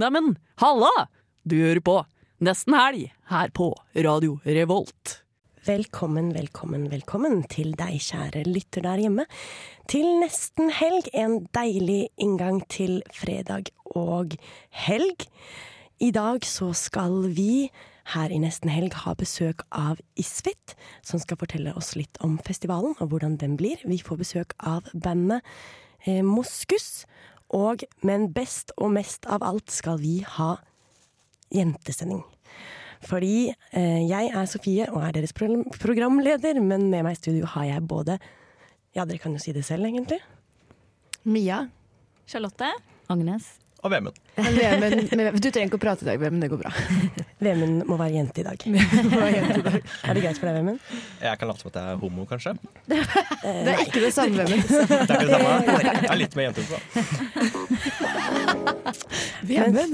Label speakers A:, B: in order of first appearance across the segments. A: Neimen, halla! Du hører på Nesten Helg her på Radio Revolt.
B: Velkommen, velkommen, velkommen til deg, kjære lytter der hjemme. Til nesten helg. En deilig inngang til fredag og helg. I dag så skal vi her i Nesten helg ha besøk av Isfit, som skal fortelle oss litt om festivalen og hvordan den blir. Vi får besøk av bandet eh, Moskus. Og, men best og mest av alt skal vi ha jentesending. Fordi eh, jeg er Sofie og er deres pro- programleder, men med meg i studio har jeg både Ja, dere kan jo si det selv, egentlig.
C: Mia.
D: Charlotte?
E: Agnes.
F: Og Vemund.
C: Vemund- men du trenger ikke å prate i dag, Vemund. Det går bra.
B: Vemund må være jente i dag. er det greit for deg, Vemund? Eh,
F: Jeg kan late som at jeg er homo, kanskje.
C: Det er ikke det samme, Vemund.
F: Det er ikke det samme. Jeg er litt mer jentete, da.
C: Vemund.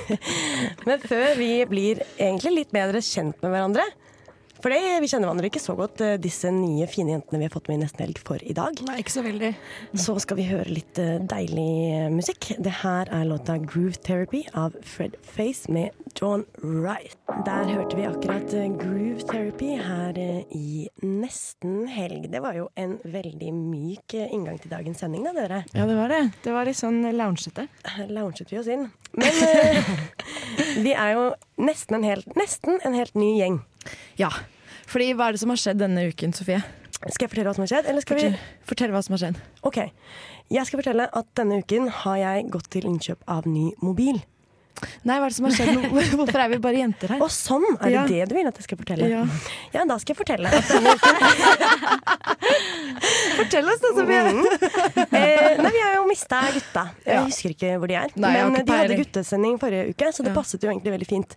B: Men før vi blir egentlig litt bedre kjent med hverandre For det, vi kjenner hverandre ikke så godt, eh, disse nye fine jentene vi har fått med i Nesten Helg for i dag. Mm.
C: Nei, ikke så veldig.
B: Så skal vi høre litt eh, deilig eh, musikk. Det her er låta 'Groove Therapy' av Fred Face med John Wright. Der hørte vi akkurat eh, 'Groove Therapy' her eh, i nesten helg. Det var jo en veldig myk eh, inngang til dagens sending, da, dere.
C: Ja, det var det. Det var litt sånn loungete.
B: Her lounget vi oss inn. Men eh, vi er jo nesten en helt, nesten en helt ny gjeng.
C: Ja. Fordi hva er det som har skjedd denne uken, Sofie?
B: Skal jeg fortelle hva som har skjedd, eller skal vi
C: Fortell, fortell hva som har skjedd.
B: Ok. Jeg skal fortelle at denne uken har jeg gått til innkjøp av ny mobil.
C: Nei, hva er det som har skjedd? Hvorfor er vi bare jenter her?
B: Og sånn er det
C: Ja.
B: det du vil at jeg skal fortelle?
C: Ja.
B: Ja, da skal jeg fortelle. At denne uken,
C: Fortell oss, da, Sofie.
B: eh, nei, vi har jo mista gutta. Jeg
C: Mm. Ja.
B: husker ikke hvor de er.
C: Nei, jeg har
B: men
C: ikke
B: de hadde
C: peiling.
B: guttesending forrige uke, så det
C: Ja.
B: passet jo egentlig veldig fint.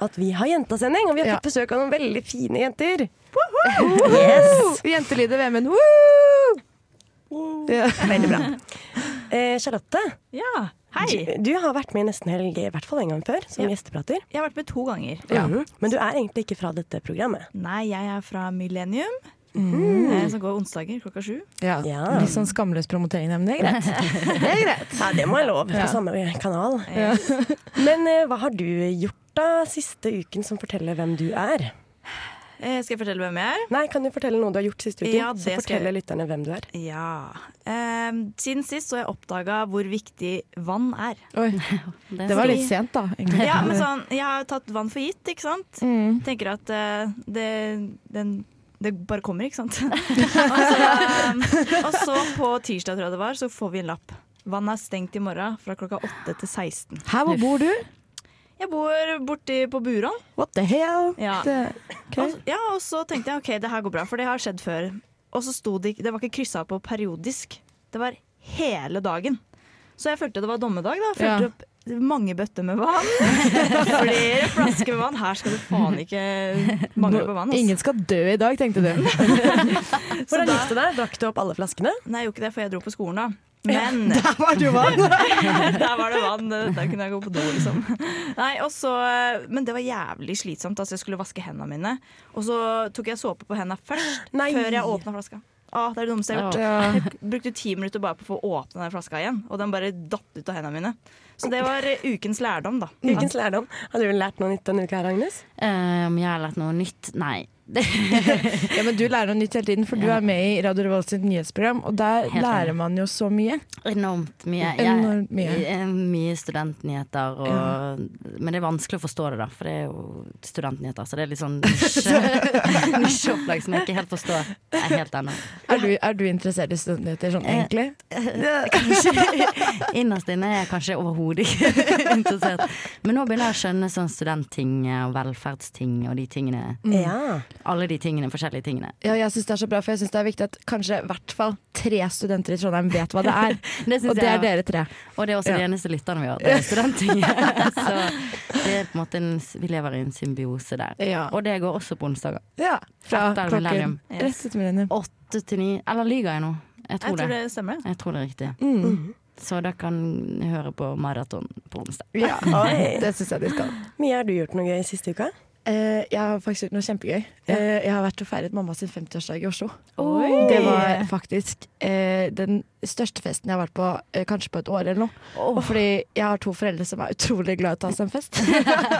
B: At vi har jentasending, og vi har
C: Ja.
B: fått besøk av noen veldig fine jenter.
C: Yes. Jentelyder, Vemund. Woo! Ja.
B: Veldig bra. Eh, Charlotte,
D: Ja.
B: du,
D: Hei.
B: du har vært med i Nesten helg i hvert fall en gang før, som
D: Ja.
B: gjesteprater.
D: Jeg har vært med to ganger.
B: Mhm. Men du er egentlig ikke fra dette programmet.
D: Nei, jeg er fra Millennium,
C: Mm.
D: eh, som går onsdager klokka sju.
C: Ja.
B: Ja.
C: Litt sånn skamløs promotering, men det er greit. Det er greit.
B: Ja, det må jeg lov.
C: Ja.
B: På samme kanal.
D: Eh,
B: Men eh, hva har du gjort da siste uken som forteller hvem du er?
D: eh, Skal jeg fortelle hvem jeg er?
B: Nei, kan du fortelle noe du har gjort siste uken?
D: Ja, det
B: så
D: skal
B: forteller
D: jeg.
B: lytterne hvem du er.
D: Ja. Eh, Siden sist så har jeg oppdaga hvor viktig vann er.
C: Oi, det var litt sent, da. Egentlig.
D: Ja, men sånn, Jeg har tatt vann for gitt, ikke sant?
C: Mm.
D: Tenker at eh, det, den, det bare kommer, ikke sant? og, så, eh, og så på tirsdag, tror jeg det var, så får vi en lapp. Vann er stengt i morgen fra klokka 8 til 16.
C: Her, hvor bor du?
D: Jeg bor borti på Buron.
C: What the hell?
D: Ja.
C: Det, ok.
D: Og, ja, og så tenkte jeg ok, det her går bra, for det har skjedd før. Og så sto det ikke Det var ikke kryssa på periodisk. Det var hele dagen. Så jeg følte det var dommedag. da Følte
C: Ja.
D: opp mange bøtter med vann. Flere flasker med vann. Her skal du faen ikke mangle på vann. ass.
C: Ingen skal dø i dag, tenkte du.
B: Hvordan gikk det der? Drakk du opp alle flaskene?
D: Nei, jeg gjorde ikke det, for jeg dro på skolen da. Men
C: Der var du vann!
D: der var det vann. Der kunne jeg gå på do, liksom. Nei, og så, men det var jævlig slitsomt. Altså, jeg skulle vaske hendene mine, og så tok jeg såpe på hendene først.
B: Nei.
D: Før jeg åpna flaska. Å, det er det dummeste jeg har gjort.
C: Ja.
D: Jeg brukte ti minutter bare på å få åpne den flaska igjen, og den bare datt ut av hendene mine. Så det var eh, ukens lærdom, da.
B: Ukens lærdom. Har du lært noe nytt denne uka her, Agnes?
E: Eh, Om jeg har lært noe nytt? Nei.
C: Ja, men Du lærer noe nytt hele tiden, for du er med i Radio Revolt sitt nyhetsprogram. Og der
E: Helt
C: lærer man jo så mye.
E: Enormt mye.
C: Enormt mye.
E: eh, mye studentnyheter. Og, Men det er vanskelig å forstå det, da, for det er jo studentnyheter. Så det er litt sånn nisje- nisjeopplag som jeg ikke helt forstår eh, helt ennå.
C: Er du, er du interessert i studentnyheter
E: Eh,
C: sånn egentlig?
E: Kanskje- Innerst inne er jeg kanskje overhodet ikke interessert. Men nå begynner jeg å skjønne sånn studentting og velferdsting og de tingene.
B: Ja.
E: Alle de tingene, forskjellige tingene.
C: Ja, jeg synes det er så bra, for jeg synes det er viktig at kanskje i hvert fall tre studenter i Trondheim vet hva det er.
E: Det synes
C: og det
E: jeg
C: er
E: også.
C: dere tre.
E: Og det er også de eneste lytterne vi har. Det er studenttinget. Så det er på en måte en, vi lever i en symbiose der.
C: Ja.
E: Og det går også på onsdager.
C: Ja, Fra
E: Etter
C: klokken
E: millennium.
C: rett etter millennium.
E: Åtte til ni. Eller lyver jeg nå? Jeg tror,
D: Jeg tror
E: det.
D: det stemmer. Mm. det.
E: Jeg tror det er riktig.
C: Mm.
E: Så dere kan høre på maraton på onsdag.
C: Ja,
B: Oi.
C: det syns jeg de skal.
B: Mia, har du gjort noe gøy siste uka?
C: Eh, jeg har faktisk gjort noe kjempegøy. Eh, jeg har vært og feiret mamma sin 50-årsdag i Oslo.
D: Oi.
C: Det var faktisk eh, den største festen jeg har vært på eh, kanskje på et år eller noe. Fordi jeg har to foreldre som er utrolig glad i å ta seg en fest.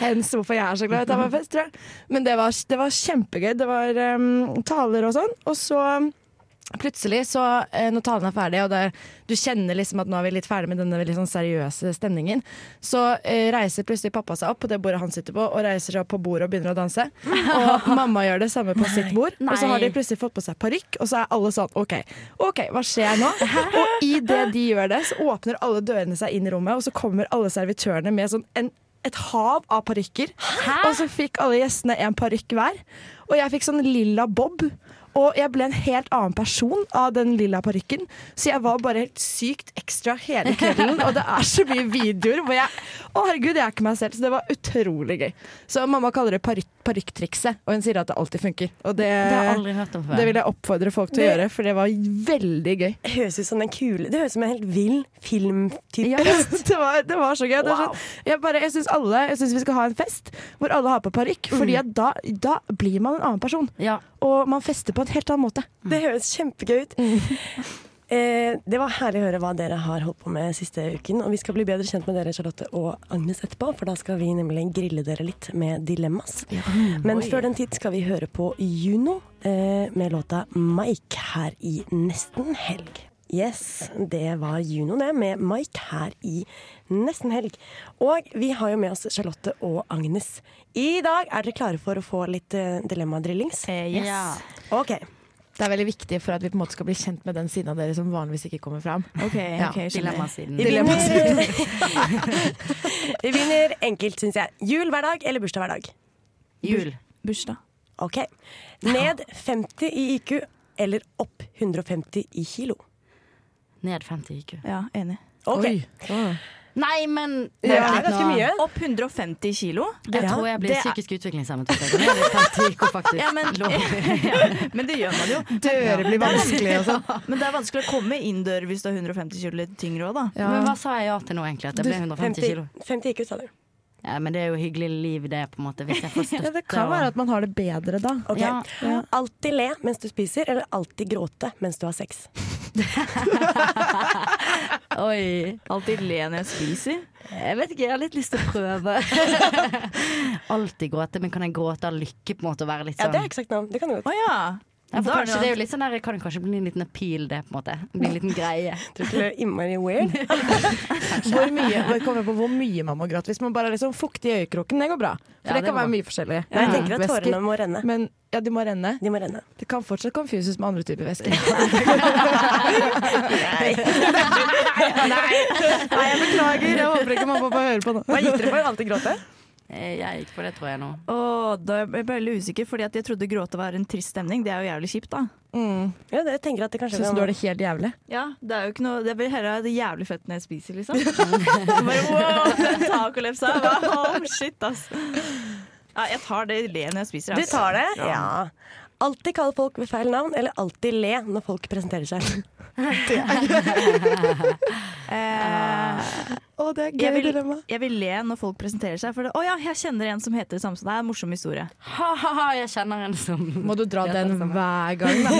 C: Hens hvorfor jeg er så glad i å ta meg en fest, tror jeg. Men det var, det var kjempegøy. Det var eh, taler og sånn. Og så plutselig, så eh, når talen er ferdig, og det, du kjenner liksom at nå er vi litt ferdig med denne veldig sånn seriøse stemningen, så eh, reiser plutselig pappa seg opp på det bordet han sitter på, og reiser seg opp på bordet og begynner å danse. Og mamma gjør det samme på sitt bord, og så har de
E: Nei.
C: plutselig fått på seg parykk, og så er alle sånn OK, ok, hva skjer nå? Og idet de gjør det, så åpner alle dørene seg inn i rommet, og så kommer alle servitørene med sånn en et hav av parykker. Og så fikk alle gjestene en parykk hver. Og jeg fikk sånn lilla bob. Og jeg ble en helt annen person av den lilla parykken. Så jeg var bare helt sykt ekstra hele kvelden. Og det er så mye videoer hvor jeg Å, herregud, jeg er ikke meg selv. Så det var utrolig gøy. Så mamma kaller det parykk- parykktrikset, og hun sier at det alltid funker. Og det,
E: Det har jeg aldri hørt om før.
C: Eh, det vil jeg oppfordre folk til å gjøre, for det var veldig gøy.
B: Høres ut som den kule Det høres ut som en helt vill filmtype.
C: Ja, det, var, det var så gøy. Det er sånn, jeg bare- jeg syns alle Jeg synes vi skal ha en fest hvor alle har på parykk, Fordi at da, da blir man en annen person.
E: Mm. Ja.
C: Og man fester på en helt annen måte. Mm.
B: Det høres kjempegøy ut. Eh, det var herlig å høre hva dere har holdt på med siste uken. Og vi skal bli bedre kjent med dere, Charlotte og Agnes, etterpå. For da skal vi nemlig grille dere litt med dilemmas. Men før den tid skal vi høre på Juno eh, med låta Mike her i Nesten helg. Yes, det var Juno det, med Mike her i Nesten helg. Og vi har jo med oss Charlotte og Agnes. I dag er dere klare for å få litt eh, dilemmadrillings?
D: yes.
E: Ja.
B: Ok.
C: Det er veldig viktig for at vi på en måte skal bli kjent med den siden av dere som vanligvis ikke kommer fram.
D: Ok, ok, skjønner.
E: Dilemmasiden.
B: Vi vinner, vi vinner enkelt, syns jeg. Jul hver dag eller bursdag hver dag?
E: Jul.
D: Bursdag.
B: Ok. Ned 50 i IQ eller opp 150 i kilo?
E: Ned 50 IQ.
D: Ja, enig.
B: Ok.
E: Nei, men
B: Det er ganske mye.
D: Opp 150 kilo.
E: Det
B: Ja,
E: tror jeg blir
D: det er-
E: psykisk utviklingshemmet. hvis jeg går ned i 50 IQ, faktisk.
D: Ja, men,
E: Lov.
D: men det gjør man jo.
C: Dører blir vanskelig og sånn.
D: Men det er vanskelig å komme inn dører hvis du er 150 kilo litt tyngre òg, da.
E: Men hva sa jeg ja til nå, egentlig? At det ble 150 kilo?
B: 50, 50 IQ, sa du.
E: Ja, men det er jo hyggelig liv, det, på en måte. Hvis jeg får støtte.
C: Ja, det kan
E: og-
C: være at man har det bedre da.
B: Ok.
E: Ja,
B: Alltid le mens du spiser, eller alltid gråte mens du har sex?
E: Oi.
D: Alltid le når jeg spiser.
E: Jeg vet ikke, jeg har litt lyst til å prøve. Alltid gråte, men kan jeg gråte av lykke, på en måte, og være litt
B: Ja,
E: sånn
B: det er eksakt navn. Det kan du godt.
D: Å ja.
E: Ja, for
D: Da er
E: kanskje, det er
D: det
E: jo litt sånn der, kan det kanskje bli en liten appeal, det, på en måte. Bli en liten greie.
B: Tror ikke det er innmari weird.
C: Hvor mye, hvor, kommer på hvor mye man må gråte. Hvis man bare er liksom fuktig i øyekroken, det går bra. For
E: Ja,
C: det,
E: det
C: kan
E: går
C: være
E: bra.
C: mye forskjellig.
B: Nei, jeg tenker at tårene må renne.
C: Men ja, de må renne.
B: De må renne.
C: Det kan fortsatt confuses med andre typer væsker. Nei, jeg beklager. Jeg håper ikke mamma får høre på nå.
B: Hva gikk dere for? Alltid gråte?
E: Eh, Jeg gikk for det, tror jeg nå.
D: Å, da ble jeg veldig usikker, fordi at jeg trodde gråte var en trist stemning. Det er jo jævlig kjipt, da.
E: mm.
B: Ja, det, jeg tenker at det kanskje
C: Syns du er det helt jævlig?
D: Ja, det er jo ikke noe Det blir heller det jævlig fett når jeg spiser, liksom. Bare wow, den tacolepsa. hva? Oh, shit, ass. Ja, jeg tar det le når jeg spiser.
B: Du
D: ass.
B: tar det? Ja. Alltid kall folk ved feil navn, eller alltid le når folk presenterer seg.
D: Eh,
C: Å, det er
D: jeg, vil, jeg vil le når folk presenterer seg. For det, å ja, jeg kjenner en som heter det samme som deg. Det er en Morsom historie.
E: Ha-ha-ha, jeg kjenner en som
C: Må du dra den hver gang? da?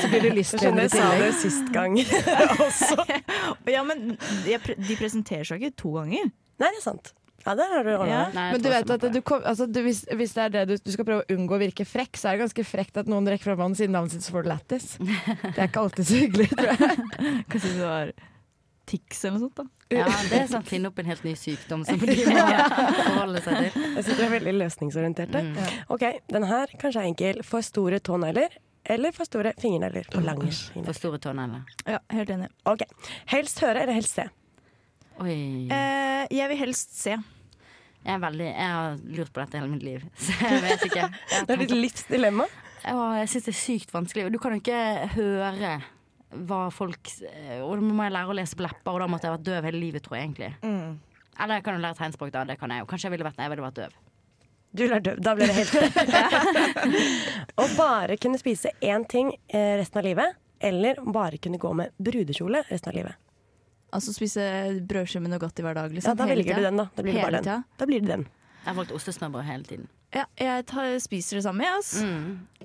C: Så blir du lystlønn i
B: sånn Jeg sa det
C: tillegg.
B: sist gang også.
D: Ja, men jeg, pre- De presenterer seg ikke to ganger.
B: Nei, det er sant. Ja, der har du ordna
D: Ja.
B: det.
E: Nei, jeg
C: Men du
E: tror
C: vet
E: ikke
C: at
E: det.
C: du kom, altså, du, hvis, hvis det er det du, du skal prøve å unngå å virke frekk, så er det ganske frekt at noen rekker fram hånden siden navnet sitt, så får du lættis. Det er ikke alltid så hyggelig, tror jeg.
D: Kanskje det var Tix eller noe sånt. da
E: Ja, det er sånn finne opp en helt ny sykdom som de må forholde seg til. Mm.
B: Jeg syns dere er veldig løsningsorienterte. Ok, den her kanskje er enkel. For store tånegler eller for store fingernegler? For lange
E: For
B: fingernegler.
E: store tånegler.
D: Ja, helt enig.
B: Ok, Helst høre eller helst se?
E: Oi.
D: Eh, jeg vil helst se.
E: Jeg, er veldig, jeg har lurt på dette hele mitt liv, så jeg vet ikke. Jeg,
B: Det er ditt livs dilemma.
E: Å, jeg syns det er sykt vanskelig. og Du kan jo ikke høre hva folk s- Og da må jeg lære å lese på lepper, og da måtte jeg vært døv hele livet, tror jeg egentlig. Eller jeg kan jo lære tegnspråk, da. Det kan jeg jo. Kanskje jeg ville vært, nei, jeg ville vært døv.
B: Du lar dø. Da blir det helt fett. Å bare kunne spise én ting eh, resten av livet, eller bare kunne gå med brudekjole resten av livet.
D: Altså spise brødskive med Nugatti hver dag. Liksom,
B: Ja, Da
D: hele
B: velger du
D: tida.
B: den, da. Da blir det
D: Hele
B: bare den.
D: tida.
B: Da blir det den.
E: Jeg har valgt ostesnabber hele tiden.
D: Ja, jeg tar, spiser det samme, jeg, ass.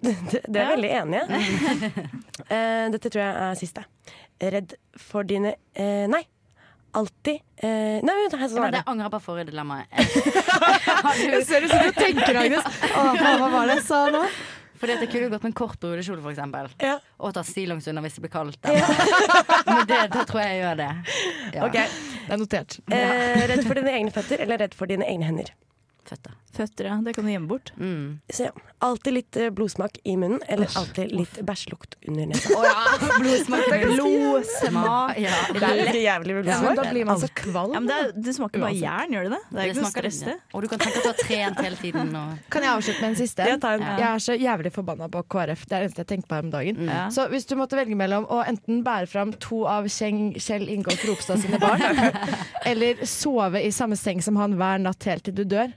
B: Det, det er jeg veldig enig i. Eh, dette tror jeg er siste. Redd for dine eh, Nei. Alltid eh, Nei, vent,
C: sånn
B: her
E: Men
B: står
E: det
B: det.
E: angrer jeg på forrige dilemma. Har du-
C: Jeg ser du sitter og tenker, Agnes. Å, faen, hva var det jeg sa nå?
E: Fordi at jeg kunne gått med en kort brudekjole, for eksempel.
B: Ja.
E: Og tatt stillongs under hvis det blir kaldt. eller- Men det, da tror jeg jeg gjør det. Ja.
B: Ok.
C: Det er notert.
B: Eh, redd for dine egne føtter eller redd for dine egne hender.
E: Født, da.
D: Føtter, ja. Det kan du gjemme bort.
E: Mm.
B: Så ja, Alltid litt eh, blodsmak i munnen eller alltid litt bæsjelukt under nesa.
D: Blodsmak. Blod, smak.
E: Ja.
B: Det er litt jævlig med
C: Men
B: blodsmak.
C: da blir man så kvalm.
D: Ja, men det, er, det smaker bare
C: Uansett.
D: jern, gjør det det? Det er
E: Det
D: ikke noe
E: smaker
D: stress, det.
E: det. Og du kan tenke at du har trent hele tiden. Og
C: Kan jeg avslutte med en siste?
B: Ja, ta en.
C: Jeg er så jævlig forbanna på KrF. Det er det eneste jeg tenker på her om dagen.
E: Mm.
D: Ja.
C: Så hvis du måtte velge mellom å enten bære fram to av Kjeng, Kjell Ingolf Ropstad sine barn, eller sove i samme seng som han hver natt helt til du dør,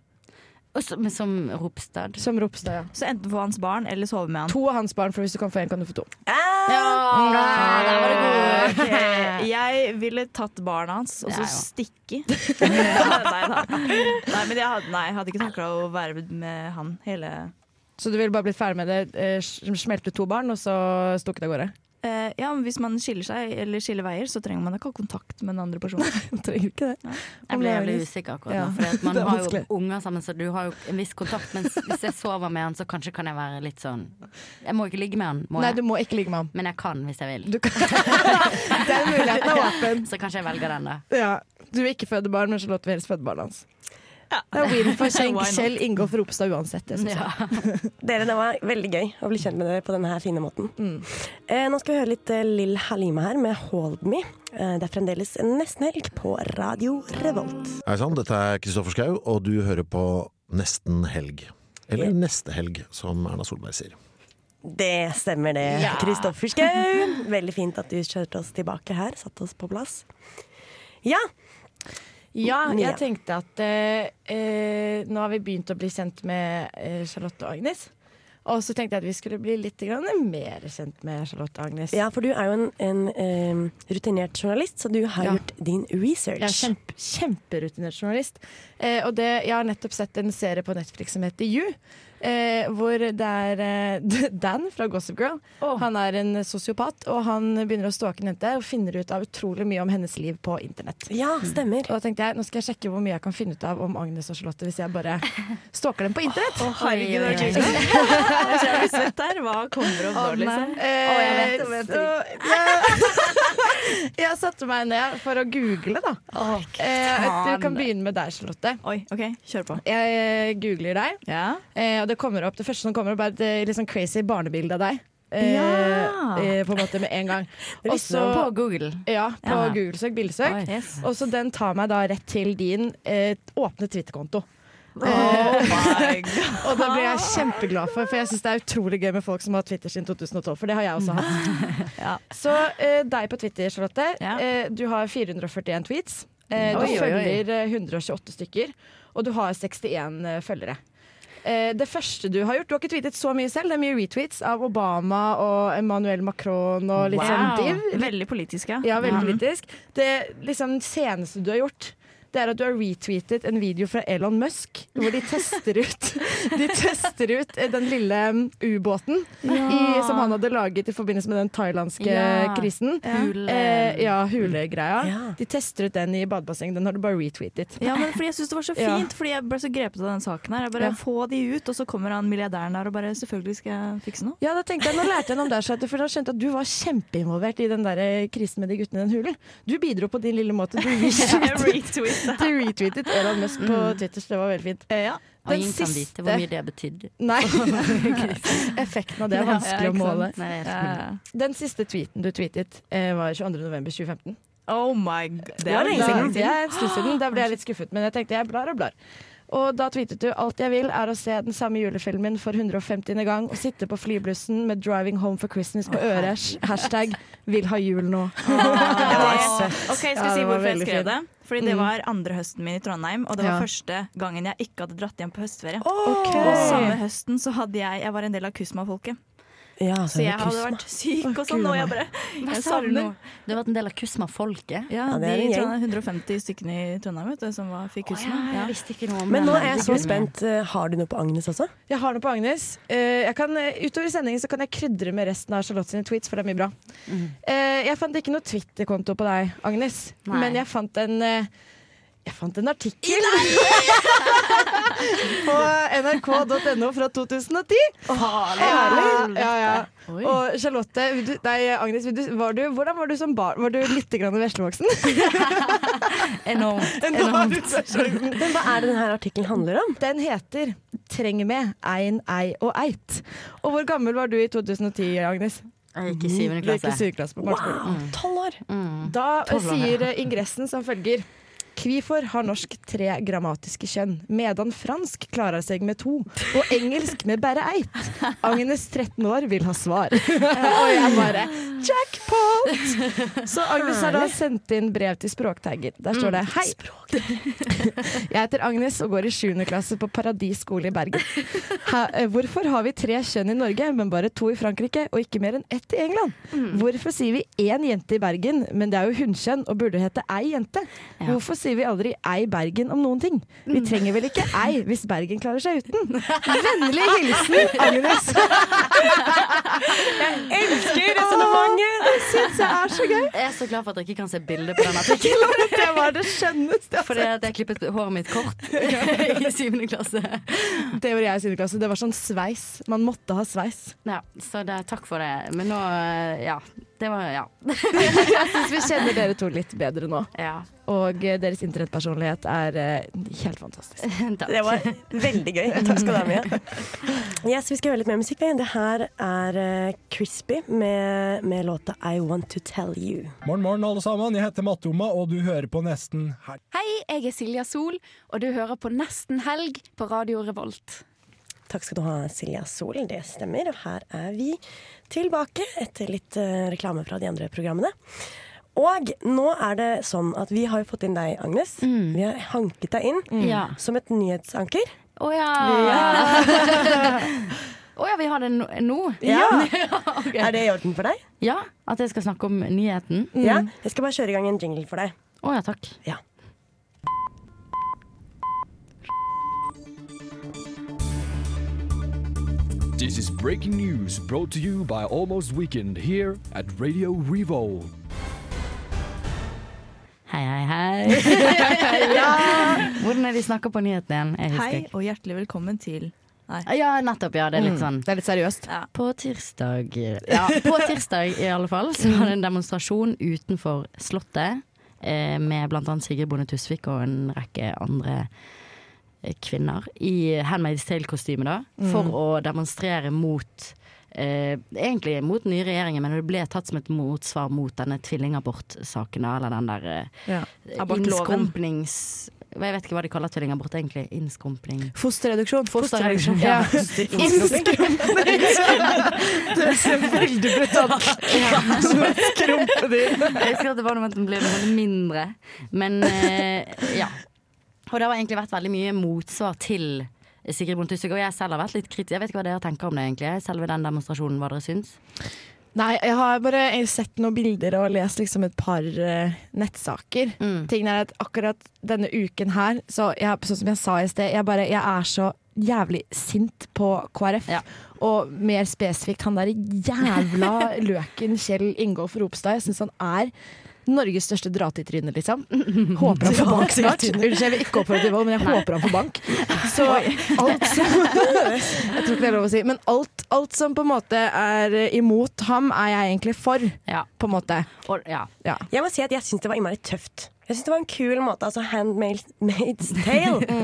E: Og så- men som Ropstad.
C: som Ropstad, ja.
D: Så enten få hans barn, eller sove med han.
C: To av hans barn, for hvis du kan få én, kan du få to.
E: Ja, der var det god.
D: Ah, Ok, Jeg ville tatt barna hans og
E: Ja, ja.
D: så stikke. nei da. Nei, men jeg hadde, nei, jeg hadde ikke takla å være med han hele
C: Så du ville bare blitt ferdig med det, eh, sm- smelte to barn, og så stukket av gårde?
D: Eh, Ja, men Hvis man skiller seg eller skiller veier, så trenger man ikke ha kontakt med den andre personen.
C: Trenger ikke det.
E: Jeg ble jævlig usikker akkurat
C: Ja,
E: nå. Fordi at man
C: det er
E: har jo
C: vanskelig.
E: unger sammen, så du har jo en viss kontakt. Men hvis jeg sover med han, så kanskje kan jeg være litt sånn Jeg må ikke ligge med han, må
C: Nei, du
E: jeg.
C: må ikke ligge med ham.
E: Men jeg kan hvis jeg vil.
C: Du kan. Den muligheten er åpen.
E: Så kanskje jeg velger den, da.
C: Ja. Du vil ikke føde barn, men så låter vi helst føde barnet hans. Det er win for Kjell,
D: Why not?
C: Kjell Ingolf Ropstad uansett. Det synes jeg.
E: Ja.
B: Dere, det var veldig gøy å bli kjent med dere på denne her fine måten. Eh, nå skal vi høre litt eh, Lill Halima her med Hold Me. Eh, det er fremdeles nesten helg på Radio Revolt.
G: Hei sann, dette er Kristoffer Schau, og du hører på Nesten helg. Eller Neste helg, som Erna Solberg sier.
B: Det stemmer det, Kristoffer Schau. Veldig fint at du kjørte oss tilbake her. Satte oss på plass. Ja,
C: Ja,
B: Mia.
C: jeg tenkte at eh, eh, nå har vi begynt å bli kjent med eh, Charlotte og Agnes. Og så tenkte jeg at vi skulle bli litt grann mer kjent med Charlotte og Agnes.
B: ja for du er jo en, en eh, rutinert journalist, så du har
C: Ja.
B: gjort din research.
C: Jeg er kjempe, kjemperutinert journalist. Eh, og det, jeg har nettopp sett en serie på Netflix som heter You. Eh, hvor det er eh, Dan fra Gossip Girl. Han er en sosiopat, og han begynner å stalke en jente og finner ut av utrolig mye om hennes liv på internett. Mm.
B: Ja, stemmer.
C: Og da tenkte jeg, nå skal jeg sjekke hvor mye jeg kan finne ut av om Agnes og Charlotte hvis jeg bare stalker dem på internett.
E: Oi,
D: Herregud,
E: oi,
D: det
E: oi.
D: er kult. Jeg kjenner meg svett her. Hva kommer opp nå, liksom?
C: Eh,
E: jeg vet, jeg vet.
C: så jeg, jeg satte meg ned for å google, da. Eh, du kan begynne med deg, Charlotte.
D: Oi, OK, kjør på.
C: Jeg eh, googler deg,
D: Ja.
C: eh, og det kommer opp, det første som kommer opp, er et eh, litt sånn crazy barnebilde av deg. Eh,
D: Ja.
C: eh, på en måte med en gang.
B: Det
C: Og
B: visste
C: så
E: På Google.
C: ja, på
E: Ja.
C: Google-søk, bilsøk.
E: Oi.
D: Yes.
C: Og så den tar meg da rett til din eh, åpne Twitter-konto. Eh,
D: Oh my god.
C: Og det blir jeg kjempeglad for, for jeg syns det er utrolig gøy med folk som har Twitter siden 2012, for det har jeg også hatt.
D: Ja.
C: Så eh, deg på Twitter, Charlotte.
D: Ja.
C: Eh, du har 441 tweets. Eh, du
E: Oi, oi, oi.
C: følger eh, 128 stykker, og du har 61 følgere. Eh, det første du har gjort, du har ikke tweetet så mye selv, det er mye retweets av Obama og Emmanuel Macron og litt sånn div.
D: Veldig politisk, ja. Mm.
C: Ja, veldig politisk. Det liksom, seneste du har gjort, det er at du har retweetet en video fra Elon Musk hvor de tester ut, de tester ut eh, den lille mm, ubåten i, som han hadde laget i forbindelse med den thailandske
E: Ja.
C: krisen.
E: Hule-
C: Eh, ja, hulegreia.
B: Ja.
C: De tester ut den i badebassenget. Den har du bare retweetet.
D: Ja, men fordi jeg synes det var så
C: Ja.
D: fint, fordi jeg ble så grepet av den saken her. Jeg bare
C: Ja.
D: Få de ut, og så kommer han milliardæren der og bare Selvfølgelig skal jeg fikse noe.
C: Ja, da tenkte jeg, Nå lærte jeg noe om deg, Charlotte, for da skjønte jeg at du var kjempeinvolvert i den der eh, krisen med de guttene i den hulen. Du bidro på din lille måte. Du
D: Retweet.
C: retweetet, du retweetet Elon Musk på
D: Mm.
C: Twitter, så det var veldig fint.
D: Ja.
E: Og
C: Den
E: ingen kan vite hvor mye det betydde.
C: Nei. Effekten av det er vanskelig
D: Ja, ikke
C: å
D: sant?
C: måle.
E: Nei, det er helt mulig.
D: Eh,
C: Den siste tweeten du tweetet, eh, var 22.11.2015.
D: Oh my god.
B: Det var lenge siden.
C: Det er en stund siden. Da ble jeg litt skuffet, men jeg tenkte jeg blar og blar. Og da tweetet du 'Alt jeg vil er å se den samme julefilmen for 150. gang' og sitte på flyblussen med 'Driving Home for Christmas' på øret. Hashtag 'Vil ha jul nå'.
D: Ok, jeg skal
C: Ja, det
D: si
C: var
D: hvorfor jeg
C: veldig
D: skrev
C: fint. Mm.
D: det. Fordi det var andre høsten min i Trondheim, og det var
C: Ja.
D: første gangen jeg ikke hadde dratt hjem på høstferie.
C: Ok.
D: Og samme høsten så hadde jeg Jeg var en del av Kusma-folket.
B: Ja,
D: Så jeg
B: er det
D: hadde
B: kusma.
D: vært syk og sånn,
C: Gud,
D: og jeg
C: Anne.
D: bare
E: Hva
D: Jeg
E: sa du nå?
D: savner
E: Du har vært en del av Kusma-folket.
D: Ja,
B: Ja, det
D: de
B: er en gjeng.
D: 150 stykkene i Trondheim vet du, som var, fikk
E: Å
D: kusma.
E: ja,
D: ja.
E: jeg visste ikke noe om
B: Men
E: den.
B: nå er jeg så
E: Herregud.
B: spent. Eh, Har du noe på Agnes også?
C: Jeg har noe på Agnes. Eh, Jeg kan, eh, utover sendingen så kan jeg krydre med resten av Charlotte sine tweets, for det er mye bra. Eh, Jeg fant ikke noe Twitter-konto på deg, Agnes,
E: Nei.
C: men jeg fant en eh, jeg fant en artikkel på nrk.no fra 2010. Herlig. Ja, ja.
E: Oi.
C: Og Charlotte, vil du, nei, Agnes, vil du, var du, hvordan var du som barn? Var du litt grann veslevoksen?
E: Enormt. enormt.
B: Men hva er det denne artikkelen handler om?
C: Den heter 'Treng med ein, ei og eit'. Og hvor gammel var du i 2010, Agnes? Mm.
E: Jeg gikk i syvende
C: Du gikk i
E: klasse. Mm.
C: syvende klasse på barneskolen.
B: Tolv år!
C: Da eh,
E: Tolv år,
C: sier eh, ingressen som følger. Kvifor har norsk tre grammatiske kjønn, medan fransk klarer seg med to, og engelsk med bare eit. Agnes 13 år vil ha svar. og jeg bare jackpot! Så Agnes har da sendt inn brev til Språktagger. Der står det hei. Jeg heter Agnes og går i 7. klasse på Paradis skole i Bergen. Hæ, eh, hvorfor har vi tre kjønn i Norge, men bare to i Frankrike, og ikke mer enn ett i England? Hvorfor sier vi én jente i Bergen, men det er jo hunnkjønn og burde hete ei jente?
E: Ja.
C: Hvorfor sier vi aldri ei Bergen om noen ting? Vi trenger vel ikke ei hvis Bergen klarer seg uten? Vennlig hilsen Agnes. Jeg elsker resonnementet! Det syns jeg er så gøy.
E: Jeg er så glad for at dere ikke kan se bilde på den artikkelen.
C: Det var det skjønneste.
E: Fordi at jeg klippet håret mitt kort i syvende klasse.
C: Det gjorde jeg i 7. klasse. Det var sånn sveis. Man måtte ha sveis.
E: Ja, så det, takk for det. Men nå eh, Ja. Det var Ja.
C: Jeg syns vi kjenner dere to litt bedre nå.
E: ja.
C: Og eh, deres internettpersonlighet er eh, helt fantastisk.
E: Takk.
B: Det var veldig gøy. Takk skal du ha, Mia. Yes, vi skal høre litt mer musikk. vi. Det her er eh, Crispy med, med låta I Want To Tell You.
H: Morgen, morgen, alle sammen. Jeg heter Matoma, og du hører på Nesten Helg.
I: Hei, jeg er Silja Sol, og du hører på Nesten helg på Radio Revolt.
B: Takk skal du ha, Silja Sol. Det stemmer. Og her er vi tilbake etter litt eh, reklame fra de andre programmene. Og nå er det sånn at vi har jo fått inn deg, Agnes.
I: Mm.
B: Vi har hanket deg inn
E: Ja.
B: som et nyhetsanker.
E: Å ja. Å ja, vi har det nå- nå?
B: Ja. Er det i orden for deg?
E: Ja, At jeg skal snakke om nyheten? Å
B: Ja. Jeg skal bare kjøre i gang en jingle for deg.
E: ja, takk.
B: Ja.
J: This is breaking news brought to you by Almost Weekend here at Radio Revolt.
E: Hei, hei, hei. Hvordan er det de snakker på nyheten igjen? Jeg husker
D: Hei
E: ikke.
D: og hjertelig velkommen til
E: Ja, nettopp. Ja, det er litt sånn
C: Mm. Det er litt seriøst.
E: På tirsdag Ja, på tirsdag i alle fall Så var det en demonstrasjon utenfor slottet eh, Med blant annet Sigrid Bonde Tusvik Og en rekke andre eh, kvinner I Handmaid's Tale-kostyme da
C: Mm.
E: For å demonstrere mot eh, Egentlig mot den nye regjeringen Men det ble tatt som et motsvar mot denne tvillingabort-saken da, Eller den der eh,
D: abortloven.
E: innskrumplings... Jeg vet ikke hva de kaller tvillingabort egentlig Innskrumpling
C: Fosterreduksjon.
E: Fosterreduksjon.
C: Ja.
B: Innskrumping.
C: Veldig brutalt. Skrumpe de.
E: Jeg husker at det var noe med at den ble noe sånn mindre. Men eh, ja. Og det har egentlig vært veldig mye motsvar til Sigrid Bonde Tusvik. Og jeg selv har vært litt kritisk. Jeg vet ikke hva dere tenker om det, egentlig. Selve den demonstrasjonen, hva dere syns.
C: Nei, jeg har bare sett noen bilder og lest liksom et par eh, nettsaker. Tingen er at akkurat denne uken her, så jeg, sånn som jeg sa i sted, jeg, bare, jeg er så jævlig sint på KrF.
E: Ja.
C: Og mer spesifikt han der jævla løken Kjell Ingolf Ropstad. Jeg syns han er Norges største dra-til-tryne, liksom. Håper han får bank snart. Unnskyld, jeg vil ikke oppfordre til vold, men jeg håper han får bank. Så alt som Jeg tror ikke det er lov å si. Men alt, alt som på en måte er imot ham, er jeg egentlig for,
E: Ja.
C: på en måte.
E: Og, ja.
C: Ja.
B: Jeg må si at jeg syns det var innmari tøft. Jeg synes det var en kul måte. Altså Handmaid's Tale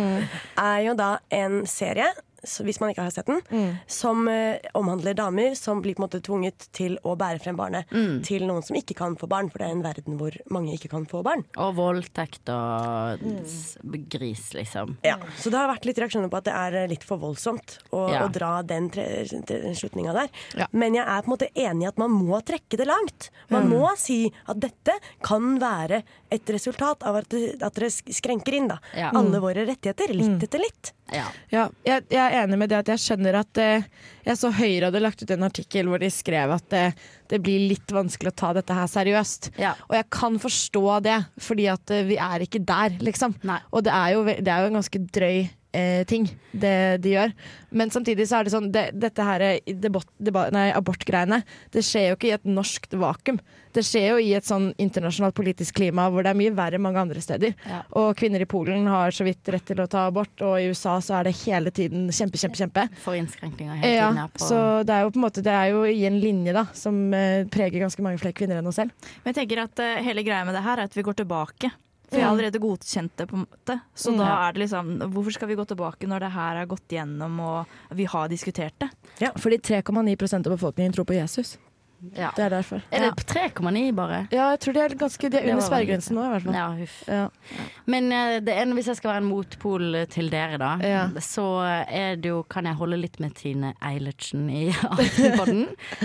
B: er jo da en serie, så hvis man ikke har sett den,
E: Mm.
B: som eh, omhandler damer som blir på en måte tvunget til å bære frem barnet
E: Mm.
B: til noen som ikke kan få barn, for det er en verden hvor mange ikke kan få barn.
E: og voldtekt og s- gris, liksom.
B: Ja. Så det har vært litt reaksjoner på at det er eh, litt for voldsomt å,
E: Ja.
B: å dra den tre- tre- slutninga der.
C: Ja.
B: Men jeg er på en måte enig i at man må trekke det langt. Man
E: Mm.
B: må si at dette kan være et resultat av at, at dere sk- skrenker inn da.
E: Ja.
B: alle våre rettigheter, litt etter litt.
E: Ja.
C: Ja, jeg, jeg er enig med det at jeg skjønner at eh, Jeg så Høyre hadde lagt ut en artikkel hvor de skrev at eh, det blir litt vanskelig å ta dette her seriøst.
E: Ja.
C: Og jeg kan forstå det, fordi at eh, vi er ikke der, liksom.
E: Nei.
C: Og det er jo, ve- det er jo en ganske drøy eh, ting, det de gjør. Men samtidig så er det sånn det, Dette her eh, debot, deba, nei, abortgreiene, det skjer jo ikke i et norsk vakuum. Det skjer jo i et sånn internasjonalt politisk klima hvor det er mye verre mange andre steder.
E: Ja.
C: Og kvinner i Polen har så vidt rett til å ta abort, og i USA så er det hele tiden kjempe, kjempe, kjempe.
E: For innskrenkninger hele tiden.
C: Ja,
E: her på,
C: så det er jo på en måte Det er jo i en linje da som eh, preger ganske mange flere kvinner enn oss selv.
D: Men jeg tenker at eh, hele greia med det her er at vi går tilbake. For jeg
C: Ja.
E: Mm.
D: har allerede godkjent det, på en måte. Så
C: Mm.
D: da
C: Ja.
D: er det liksom Hvorfor skal vi gå tilbake når det her er gått gjennom og vi har diskutert det?
C: Fordi 3,9 av befolkningen tror på Jesus.
E: ja.
C: Det er derfor.
E: Er det 3,9 bare?
C: Ja, jeg tror de er ganske De er
E: Det
C: under
E: var veldig
C: sperregrensen nå, i hvert fall.
E: Ja, huff.
C: Ja.
E: Men eh, det ene, hvis jeg skal være en motpol eh, til dere, da,
C: Ja.
E: så er det jo, kan jeg holde litt med Tine Eilertsen i Aftenpodden,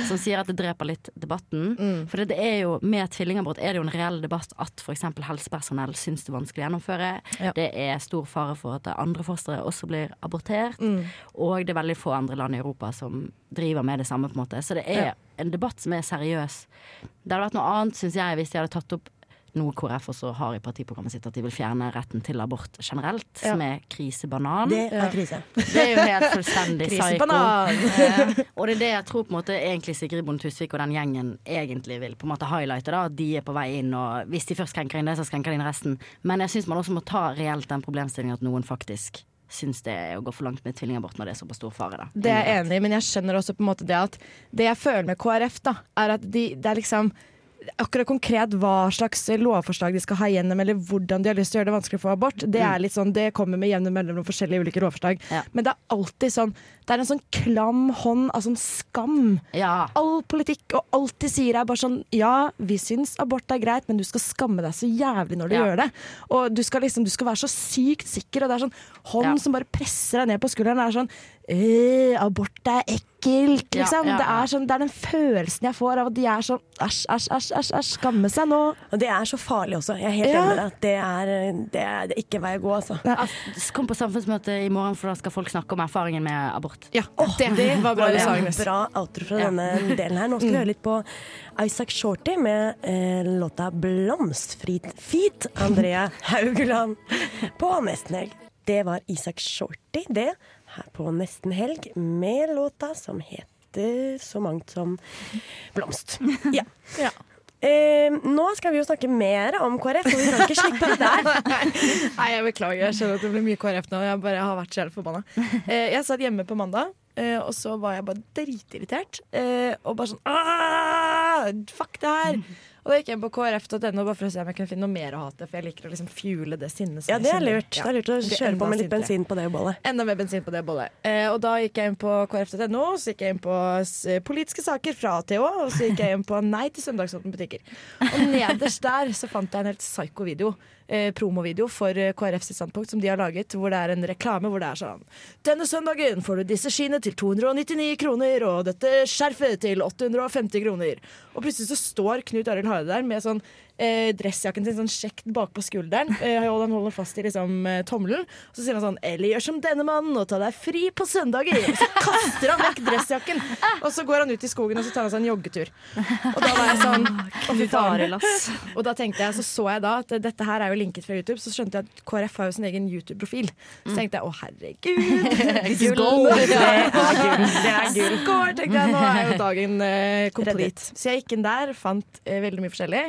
E: som sier at det dreper litt debatten.
C: Mm.
E: For det, det er jo, med tvillingabort er det jo en reell debatt at f.eks. helsepersonell syns det er vanskelig å gjennomføre.
C: Ja.
E: Det er stor fare for at det andre fostre også blir abortert.
C: Mm.
E: Og det er veldig få andre land i Europa som driver med det samme, på en måte. Så det er en debatt som er seriøs. Det hadde vært noe annet, syns jeg, hvis de hadde tatt opp noe KrF også har i partiprogrammet sitt, at de vil fjerne retten til abort generelt, som er krisebanan.
B: Det
E: Det,
B: er krise.
E: er jo helt fullstendig psyko.
C: Krisebanan!
E: Eh, og det er det jeg tror på en måte egentlig Sigrid Bonde Tusvik og den gjengen egentlig vil på en måte highlighte. da, at De er på vei inn, og hvis de først krenker inn det, så skrenker de inn resten. Men jeg syns man også må ta reelt den problemstillingen at noen faktisk syns det er å gå for langt med tvillingabort når det er såpass stor fare. da.
C: Det er jeg enig i, men jeg skjønner også på en måte det at Det jeg føler med KrF, da, er at de, det er liksom Akkurat konkret hva slags lovforslag de skal ha gjennom, eller hvordan de har lyst til å gjøre det vanskelig å få abort, det er litt sånn, det kommer med jevne mellomrom forskjellige ulike lovforslag.
E: Mm. Ja.
C: Men det er alltid sånn Det er en sånn klam hånd av sånn skam.
E: Ja.
C: All politikk og alt de sier er bare sånn Ja, vi syns abort er greit, men du skal skamme deg så jævlig når du
E: Ja.
C: gjør det. Og du skal liksom, du skal være så sykt sikker, og det er sånn hånd
E: Ja.
C: som bare presser deg ned på skulderen. Det er sånn «Øh, Abort er ekkelt,
E: Ja,
C: liksom.
E: ja,
C: Det,
E: ja.
C: er sånn, det er den følelsen jeg får av at de er sånn æsj, æsj, æsj, æsj, æsj skamme seg nå.
B: Og det er så farlig også. Jeg er helt
C: Ja.
B: enig med deg. at Det er, det er, det er ikke vei å gå, altså.
E: Altså, Kom på samfunnsmøte i morgen, for da skal folk snakke om erfaringen med abort.
C: Ja, det, var bra du sa,
B: En
C: Agnes.
B: bra outro fra denne delen her. Nå skal vi høre litt på Isaac Shorty med eh, låta 'Blomstfritt feet'. Andrea Haugeland på Nesten Helg. Det var Isak Shorty, det, her på Nesten Helg, med låta som heter så mangt som 'Blomst'. Ja. Eh, nå skal vi jo snakke mer om KrF, og vi kan ikke slippe det der.
C: Nei, jeg beklager. Jeg skjønner at det blir mye KrF nå. Jeg bare har vært så jævlig forbanna. Eh, jeg satt hjemme på mandag, eh, og så var jeg bare dritirritert. Eh, og bare sånn «Ah, Fuck det her! Og da gikk jeg inn på krf.no bare for å se om jeg kunne finne noe mer å hate, for jeg liker å liksom fuele det sinnet. som
B: Ja,
C: jeg
B: det er
C: kjenner.
B: lurt. Det er lurt å
C: blir
B: kjøre
C: enda
B: på med litt
C: sintere.
B: bensin på det bollet.
C: Enda mer bensin på det bollet. Eh, og da gikk jeg inn på krf.no, så gikk jeg inn på s- eh, politiske saker fra TH, og så gikk jeg inn på Nei til søndagsåpne butikker. Og nederst der så fant jeg en helt psyko video, eh, promovideo for eh, KrFs standpunkt som de har laget, hvor det er en reklame hvor det er sånn Denne søndagen får du disse skiene til 299 kroner, og dette skjerfet til 850 kroner. Og plutselig så står Knut Arild Hareide der med sånn eh, dressjakken sin sånn kjekt bakpå skulderen, eh, og han holder fast i liksom eh, tommelen. Og så sier han sånn 'Eller gjør som denne mannen og ta deg fri på søndager'. Og så kaster han vekk dressjakken, og så går han ut i skogen og så tar han seg en joggetur. Og da var jeg sånn Å, fy faen. Og da tenkte jeg, så så jeg da at dette her er jo linket fra YouTube, så skjønte jeg at KrF har jo sin egen YouTube-profil. Så tenkte jeg å herregud, Mm. this is gold! Det er gull. Det er gull. Skår, tenkte jeg. Nå er jo dagen eh, complete. Så jeg gikk inn der, fant eh, veldig mye forskjellig.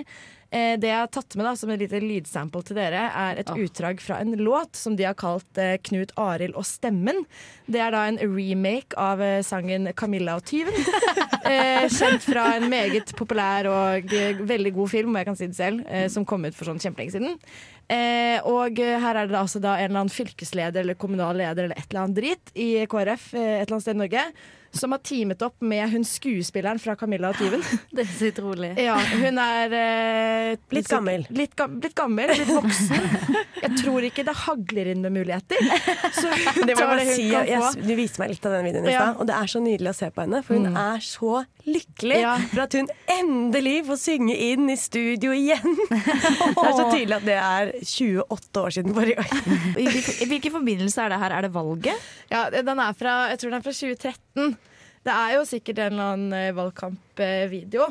C: Eh, det jeg har tatt med da, som et lite lydsample til dere, er et utdrag fra en låt som de har kalt eh, Knut Arild og Stemmen. Det er da en remake av eh, sangen 'Camilla og tyven'. Eh, kjent fra en meget populær og eh, veldig god film, om jeg kan si det selv, eh, som kom ut for sånn kjempelenge siden. Eh, og eh, her er det da altså da en eller annen fylkesleder eller kommunal leder eller et eller annet drit i KrF eh, et eller annet sted i Norge som har teamet opp med hun skuespilleren fra Camilla og tyven.
E: Det er så utrolig.
C: Ja, hun er eh,
B: Litt gammel.
C: Litt, ga litt gammel, litt voksen. Jeg tror ikke det hagler inn med muligheter. Så hun
B: Det må jeg
C: tar det
B: bare
C: hun
B: si,
C: kan
B: jeg,
C: få.
B: du viste meg litt av den videoen i
C: Ja. Mm.
B: stad, og det er så nydelig å se på henne. For hun er så lykkelig
C: Ja.
B: for at hun endelig får synge inn i studio igjen. Det er så tydelig at det er 28 år siden forrige gang.
D: I hvil- i hvilken forbindelse er det her? Er det valget?
C: Ja, den er fra, jeg tror den er fra 2013. Det er jo sikkert en eller annen eh, valgkampvideo.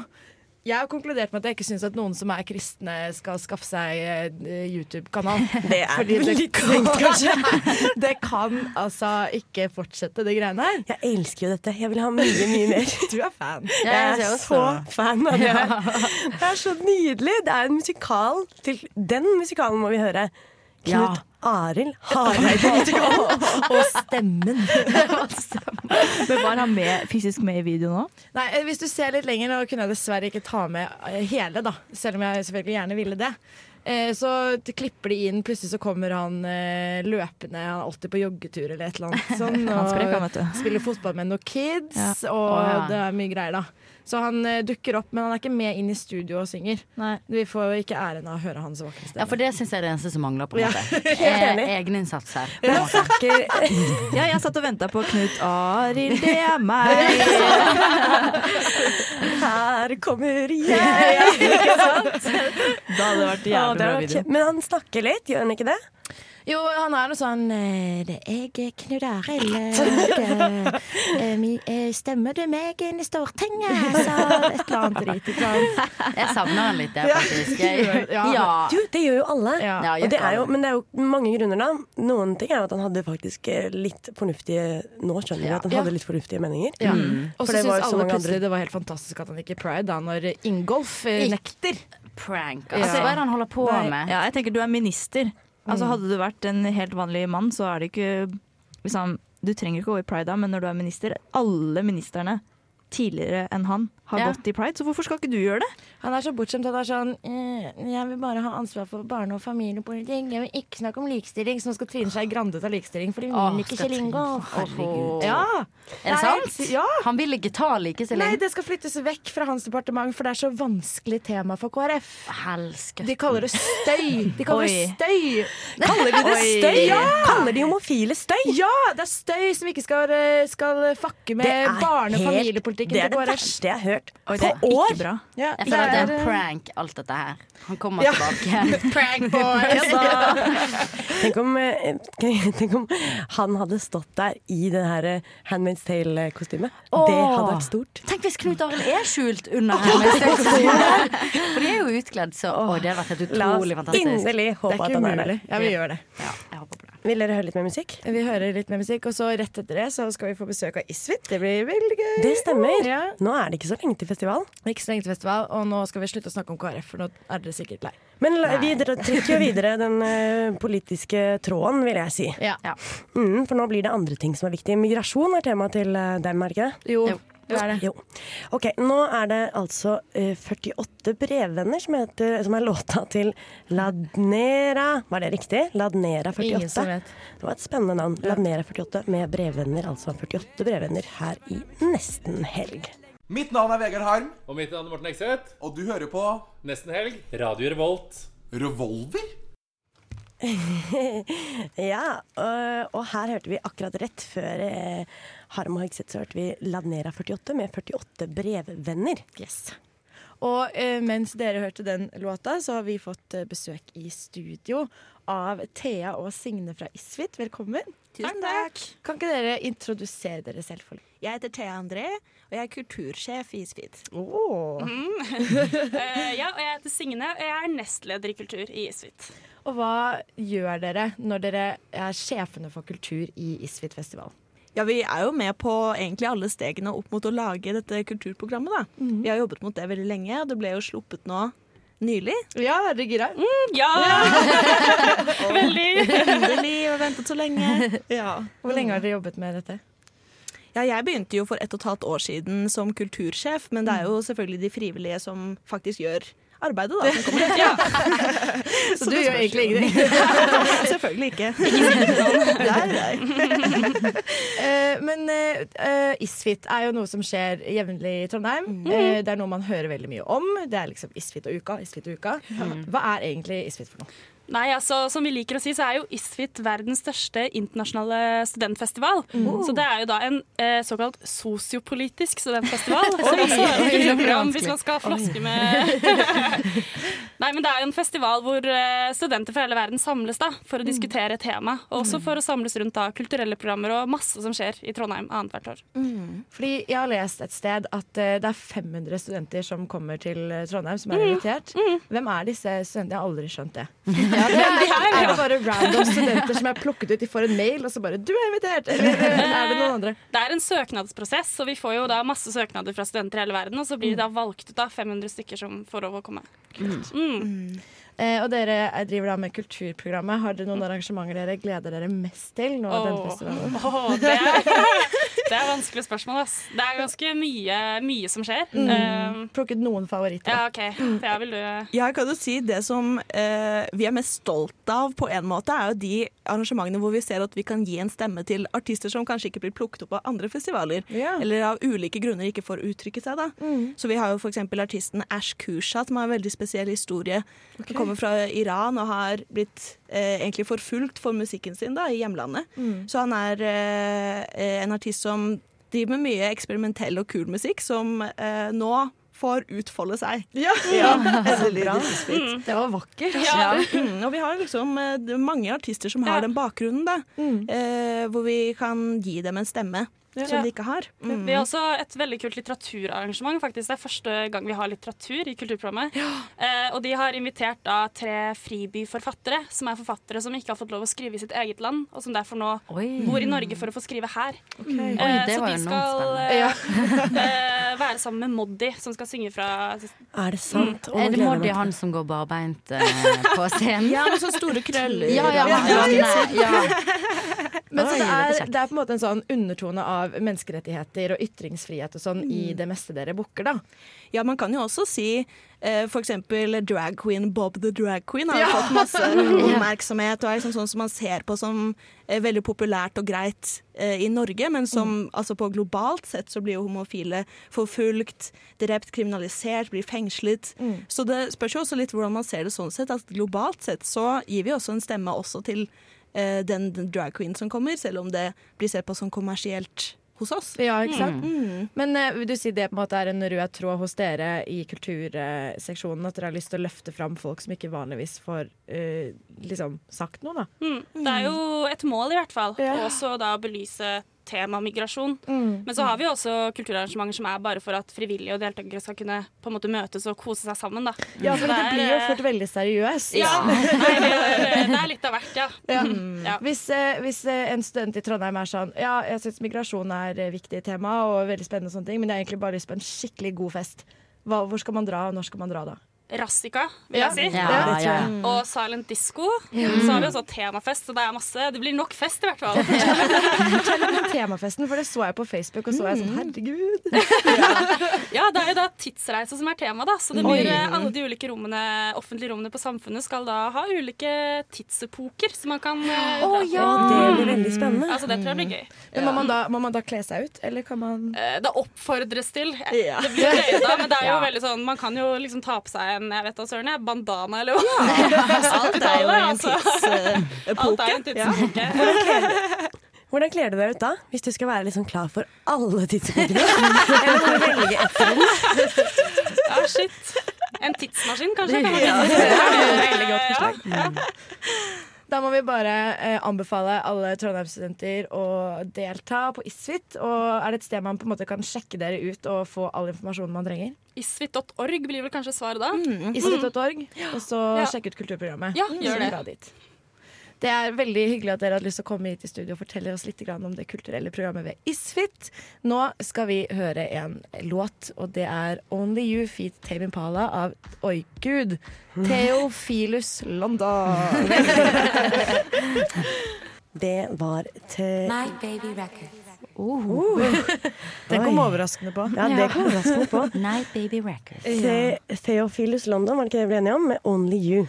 C: Jeg har konkludert med at jeg ikke syns at noen som er kristne, skal skaffe seg eh, YouTube-kanal.
B: Det er
C: Fordi det
B: litt
C: kan-
B: strengt, kanskje.
C: Det kan altså ikke fortsette, det greiene her.
B: Jeg elsker jo dette. Jeg vil ha mye, mye mer.
C: Du er fan.
B: Jeg er så fan av det her. Det er så nydelig. Det er en musikal til Den musikalen må vi høre.
E: Ja.
B: Knut Arild Hareide-musikalen.
D: Og stemmen! Men Var han med, fysisk med i videoen òg?
C: Nei, eh, Hvis du ser litt lenger, nå kunne jeg dessverre ikke ta med eh, hele, da, selv om jeg selvfølgelig gjerne ville det. Eh, Så t- klipper de inn, plutselig så kommer han eh, løpende, han er alltid på joggetur eller et eller annet sånn.
D: Han sprek, han, vet du.
C: spiller fotball med noen kids,
E: Å, ja.
C: og det er mye greier, da. Så han eh, dukker opp, men han er ikke med inn i studio og synger.
D: Nei.
C: Vi får jo ikke æren av å høre hans vakre
E: Ja,
C: stemme.
E: for det syns jeg er det eneste som mangler. på en
C: Ja.
E: måte
B: enig.
E: Eh, Egeninnsats her. på en
B: Han
E: måte.
B: snakker
D: Ja, jeg satt og venta på Knut Arild, det er meg.
B: Her kommer jeg!
D: Da hadde det vært
B: Ja,
D: jævlig
B: det
D: bra
B: var
D: video.
B: ok. Men han snakker litt, gjør han ikke det?
C: Jo, han er noe sånn eh, det er
K: Jeg er Knut Arild. og, eh, mi- eh, Stemmer du meg inn i Stortinget? Så et eller annet drit. et eller annet.
E: Jeg savner han litt, jeg, faktisk. Jeg,
C: Ja.
E: ja.
B: Du, det gjør jo alle.
C: Ja.
E: Ja,
B: Og det er jo,
E: gjør
B: men det er jo mange grunner, da. Noen ting er jo at han hadde faktisk eh, litt fornuftige Nå skjønner vi at han
C: Ja.
B: hadde litt fornuftige meninger.
C: Ja.
E: Mm.
D: Mm.
C: Og
B: Mm. For
C: så
B: det var
C: syns
B: jo så
C: alle
B: mange andre-
C: plutselig det var helt fantastisk at han gikk i Pride, da, når Ingolf eh,
E: Ikke-
C: nekter.
E: Prank. Altså,
C: Ja.
E: Hva er det han holder på med? Mm.
D: Ja, jeg tenker du er minister. Altså Hadde du vært en helt vanlig mann, så er det ikke liksom, Du trenger ikke gå i pride, da, men når du er minister Alle ministerne tidligere enn han har
E: Ja.
D: gått i pride, så hvorfor skal ikke du gjøre det?
C: Han er så bortskjemt. Han er sånn «Eh, Jeg vil bare ha ansvar for barne- og familiepolitikk. Jeg vil ikke snakke om likestilling. Så nå skal Trine Skei Grande ta likestilling, fordi hun
E: Åh,
C: liker
E: skal
C: Kjell Ingolf.
E: Herregud.
C: Ja.
E: Er det sant?
C: Ja.
E: Han vil ikke ta likestilling.
C: Nei, det skal flyttes vekk fra hans departement, for det er så vanskelig tema for KrF.
E: Helske.
C: De kaller det støy. De kaller det
D: Oi.
C: støy.
B: Kaller de det
C: Oi.
B: støy?
C: Ja!
B: Kaller de homofile støy?
C: Ja, det er støy som ikke skal, eh, skal fucke med barne- og familiepolitikken
B: det er
C: til
B: det
C: KrF.
B: verste jeg har hørt
D: det
B: på
D: er
B: år.
D: ikke bra.
C: Ja,
E: Jeg føler at det er
C: det
E: en
C: er-
E: prank, alt dette her. Han kommer
C: Ja.
E: tilbake.
C: Prank boys.
B: Tenk om, eh, tenk om han hadde stått der i det her eh, Handmaid's Tale-kostymet. Det hadde vært stort.
E: Tenk hvis Knut Arild er skjult under her. For de er jo utkledd, så Å, det hadde vært helt
B: La oss
E: utrolig fantastisk.
B: inderlig
C: Det
B: håpe
C: er
B: at
C: ikke
B: han er der.
C: umulig. Ja, vi gjør det.
E: Ja, jeg håper på det.
B: Vil dere høre litt mer musikk?
C: Vi hører litt mer musikk, og så rett etter det så skal vi få besøk av Isfit. Det blir veldig gøy.
B: Det stemmer.
C: Ja.
B: Nå er det ikke så lenge til festival.
C: Ikke så lenge til festival, og nå skal vi slutte å snakke om KrF, for nå er dere sikkert lei.
B: Men la- vi dra- trekker jo videre den eh, politiske tråden, vil jeg si.
C: Ja.
E: Ja.
B: Mm, for nå blir det andre ting som er viktig. Migrasjon er tema til eh, dem, er det ikke det?
C: Jo,
E: Jo.
C: det er det.
B: Jo. Ok, nå er det altså eh, 48 brevvenner som, heter, som er låta til Ladnera. Var det riktig? Ladnera 48.
C: Ingen som vet.
B: Det var et spennende navn. Ladnera 48 med brevvenner, altså 48 brevvenner her i nesten helg.
L: Mitt navn er Vegard Harm,
M: Og mitt navn er Morten Ekseth.
L: og du hører på
M: Nesten helg. Radio Revolt.
L: Revolver?
B: Ja, og, og her hørte vi akkurat rett før eh, Harm og Hegseth, så hørte vi Ladnera 48 med 48 brevvenner.
C: Yes. Og eh, mens dere hørte den låta, så har vi fått eh, besøk i studio av Thea og Signe fra Isfit. Velkommen.
K: Tusen takk.
C: Kan ikke dere introdusere dere selv, folk?
K: Jeg heter Thea André, og jeg er kultursjef i Mhm. Isfit.
N: Mm. Eh, ja, og jeg heter Signe, og jeg er nestleder i kultur i Isfit.
C: Og hva gjør dere når dere er sjefene for kultur i Isfit-festivalen?
K: Ja, vi er jo med på egentlig alle stegene opp mot å lage dette kulturprogrammet, da.
C: Mhm.
K: Vi har jobbet mot det veldig lenge, og det ble jo sluppet nå nylig.
C: Ja, er dere gira?
N: Mm, Ja! Veldig.
K: Endelig, og ventet så lenge. Ja.
C: Hvor lenge har dere jobbet med dette?
K: Ja, jeg begynte
C: Mhm.
K: jo for ett og et halvt år siden som kultursjef, men det er jo selvfølgelig de frivillige som faktisk gjør arbeidet, da. Som kommer.
D: Så
K: det
D: du gjør
K: spørs
D: egentlig
K: jo.
D: ingenting?
K: Selvfølgelig ikke.
D: Nei, nei.
C: Eh, men eh, eh, Isfit er jo noe som skjer jevnlig i Trondheim.
K: Mhm.
C: Eh, det er noe man hører veldig mye om. Det er liksom Isfit og uka, Isfit og uka.
N: Mhm.
C: Hva er egentlig Isfit for noe?
N: Nei, altså, som vi liker å si, så er jo ISFIT verdens største internasjonale studentfestival.
C: Mm.
N: Så det er jo da en eh, såkalt sosiopolitisk studentfestival.
I: Oi.
N: som også
I: Oi, det
N: hører
I: blir
N: fram
I: vanskelig.
N: hvis man skal
I: Oi.
N: floske med Nei, men det er jo en festival hvor eh, studenter fra hele verden samles da,
C: Mm.
N: for å diskutere et tema. Og også for å samles rundt da, kulturelle programmer og masse som skjer i Trondheim annethvert år.
C: Fordi jeg har lest et sted at eh, det er 500 studenter som kommer til eh, Trondheim som er
N: Mhm.
C: invitert. Hvem er disse studentene? Jeg har aldri skjønt det.
N: det
C: Hvem
N: er-
C: de er, er det bare random studenter som er plukket ut? De får en mail, og så bare 'du er invitert'! Eller eh, er det noen andre?
N: Det er en søknadsprosess, og vi får jo da masse søknader fra studenter i hele verden. Og så
C: Mm.
N: blir det da valgt ut da 500 stykker som får lov å komme.
C: Eh, og dere eh, driver da med kulturprogrammet. Har dere noen arrangementer dere gleder dere mest til? nå av denne
N: Åh.
C: festivalen?
N: Åh, det, er, det er vanskelige spørsmål, ass. Det er ganske mye, mye som skjer.
K: Mm.
N: Um,
C: Plukket noen favoritter.
N: ja, OK. Ja, vil du
C: Eh.
K: Jeg kan jo si Det som eh, vi er mest stolt av, på en måte, er jo de arrangementene hvor vi ser at vi kan gi en stemme til artister som kanskje ikke blir plukket opp av andre festivaler, eller av ulike grunner ikke får uttrykke seg. da.
C: Mm.
K: Så vi har jo f.eks. artisten Ash Kusha, som har en veldig spesiell historie.
C: Ok.
K: Han kommer fra Iran og har blitt eh, egentlig forfulgt for musikken sin da, i hjemlandet.
C: Mm.
K: Så han er eh, en artist som driver med mye eksperimentell og kul musikk, som eh, nå får utfolde seg.
C: Ja,
K: endelig
C: Bra.
K: dritfint.
C: Mm. Det var vakkert.
K: Ja. Mm, og vi har liksom eh, det er mange artister som har den bakgrunnen, da. Eh, hvor vi kan gi dem en stemme
N: Ja.
K: som de ikke har. Mm.
N: Vi har også et veldig kult litteraturarrangement. faktisk. Det er første gang vi har litteratur i kulturprogrammet. Eh, og de har invitert da tre fribyforfattere, som er forfattere som ikke har fått lov å skrive i sitt eget land, og som derfor nå bor i Norge for å få skrive her.
E: Oi,
N: Eh,
E: det
N: så
E: var
N: de
E: jo noe
N: skal
E: spennende.
N: eh, eh, være sammen med Moddi, som skal synge fra
B: Er det sant? Å,
E: Er Mm. Eh, det
B: gleder
E: Moddi
B: meg.
E: han som går barbeint eh, på scenen?
K: Ja, med sånne store krøller.
E: Ja, ja,
K: Ja,
E: ja,
K: ja,
E: nei, ja.
C: Men så
E: Oi,
C: det,
E: det er
C: er,
E: kjekt.
C: det er på en måte en sånn undertone av menneskerettigheter og ytringsfrihet og sånn i det meste dere booker, da.
K: Mm. Ja, man kan jo også si eh, for eksempel drag queen Bob the drag queen har jo
C: Ja.
K: fått masse
C: Ja.
K: oppmerksomhet og er liksom sånn som man ser på som eh, veldig populært og greit eh, i Norge, men som
C: Mm.
K: altså på globalt sett så blir jo homofile forfulgt, drept, kriminalisert, blir fengslet.
C: Mm.
K: Så det spørs jo også litt hvordan man ser det sånn sett, at globalt sett så gir vi også en stemme også til eh, den, den drag queen som kommer, selv om det blir sett på som kommersielt hos oss.
C: Ja, ikke sant?
K: Mm.
C: Men eh, vil du si det på en måte er en rød tråd hos dere i kulturseksjonen? At dere har lyst til å løfte fram folk som ikke vanligvis får eh, liksom sagt noe, da?
N: Mm. Det er jo et mål, i hvert fall. Og også da å belyse tema migrasjon.
C: Mm.
N: Men så har vi jo også kulturarrangementer som er bare for at frivillige og deltakere skal kunne på en måte møtes og kose seg sammen. Da.
C: Ja, for
N: Så
C: det
N: er,
C: blir jo
N: eh,
C: fort veldig seriøst.
N: ja. Nei, det, er, det er litt av hvert, ja.
C: Ja.
N: Mm. ja.
C: Hvis, eh, hvis eh, en student i Trondheim er sånn Ja, jeg syns migrasjon er et viktig tema og veldig spennende, og sånne ting men jeg har egentlig bare lyst på en skikkelig god fest. Hva, hvor skal man dra, og når skal man dra da?
N: Rassika, vil
C: Ja.
N: jeg si.
C: Ja, Ja, det tror jeg. ja.
N: Og silent disco.
C: Mm.
N: Så har vi også temafest, så det er masse. Det blir nok fest, i hvert fall.
C: Fortell litt om temafesten, for det så jeg på Facebook, og så var jeg sånn
N: Mm.
C: herregud.
N: Ja, det er jo da tidsreise som er tema, da. Så det
C: Oi.
N: blir eh, alle de ulike rommene, offentlige rommene på samfunnet skal da ha ulike tidsepoker som man kan
B: Å,
N: eh, dra på.
B: ja, det blir veldig spennende.
N: Mm. Altså, det tror jeg blir gøy.
C: Men må man, da, må man da kle seg ut, eller kan man
N: Eh, Det oppfordres til. Eh,
C: Ja.
N: Det blir gøy, da, men det er jo
C: Ja.
N: veldig sånn Man kan jo liksom ta på seg en jeg vet da søren, jeg, bandana eller hva.
K: Alt er jo altså. en eh,
N: Alt er en
K: tidsepoke. Ja.
N: tidsepoke.
B: Hvordan kler du deg ut da, hvis du skal være liksom klar for alle tidspunktene? Eller må du velge et eller annet?
N: Ja, shit. En tidsmaskin, kanskje? kan man
B: Ja.
N: si.
B: Det er
C: et veldig godt forslag.
N: Ja, ja.
C: Da må vi bare eh, anbefale alle Trondheim-studenter å delta på ISFIT. Og er det et sted man på en måte kan sjekke dere ut og få all informasjonen man trenger?
N: Isfit.org blir vel kanskje svaret da.
C: Mm. ISFIT.org, og så
N: Ja.
C: sjekke ut kulturprogrammet.
N: Ja,
C: Så
N: gjør det.
C: dra dit. Det er veldig hyggelig at dere hadde lyst til å komme hit i studio og fortelle oss litt grann om det kulturelle programmet ved ISFIT. Nå skal vi høre en låt, og det er Only You Feet Tame Impala av Oi gud, Theophilus London.
B: Det var til
O: baby records.
C: Den kom overraskende på.
B: Ja, det kom overraskende på.
E: Night Baby Records.
B: The Theophilus London, var det ikke det vi ble enige om? Med Only You.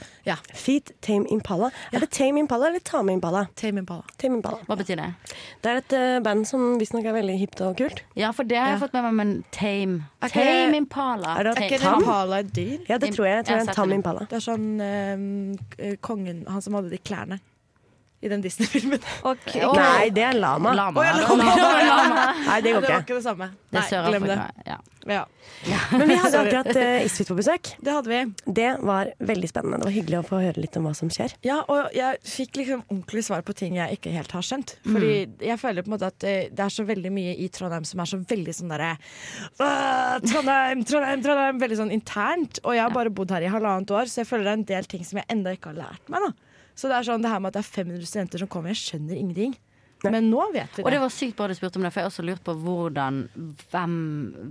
B: Feet Tame Impala. Er det Tame Impala eller Tame Impala?
E: Tame Impala. Hva betyr det?
B: Det er et eh, band som visstnok er veldig hipt og kult.
E: Ja, for det har jeg fått med meg, men tame
B: Er ikke-
E: Tame Impala.
B: Er det
E: Tame.
B: ikke
E: Tam?
C: Impala et dyr?
B: Ja, det tror jeg. Jeg tror det er en tam impala.
C: Det er sånn eh, kongen, han som hadde de klærne i den Disney-filmen.
E: og-
B: Nei, det er lama.
E: Lama.
C: Å, ja,
E: Lama. Lama.
B: Nei, det går
C: Det var
B: ikke.
C: ikke det samme.
E: Det er
C: Nei, glem det.
E: Sør-Afrika, ja.
C: Ja.
B: Men vi hadde
C: Sorry.
B: akkurat eh, Isfit på besøk.
C: Det hadde vi.
B: Det var veldig spennende. Det var hyggelig å få høre litt om hva som skjer.
C: Ja, og jeg fikk liksom ordentlig svar på ting jeg ikke helt har skjønt. Fordi
E: Mm.
C: jeg føler på en måte at eh, det er så veldig mye i Trondheim som er så veldig sånn derre «Åh, Trondheim, Trondheim, Trondheim! Veldig sånn internt. Og jeg har bare bodd her i halvannet år, så jeg føler det er en del ting som jeg enda ikke har lært meg. da. Så det er sånn det her med at det er 500 studenter som kommer, jeg skjønner ingenting. Men nå vet vi det.
E: Og det var sykt bra du spurte om det, for jeg har også lurt på hvordan Hvem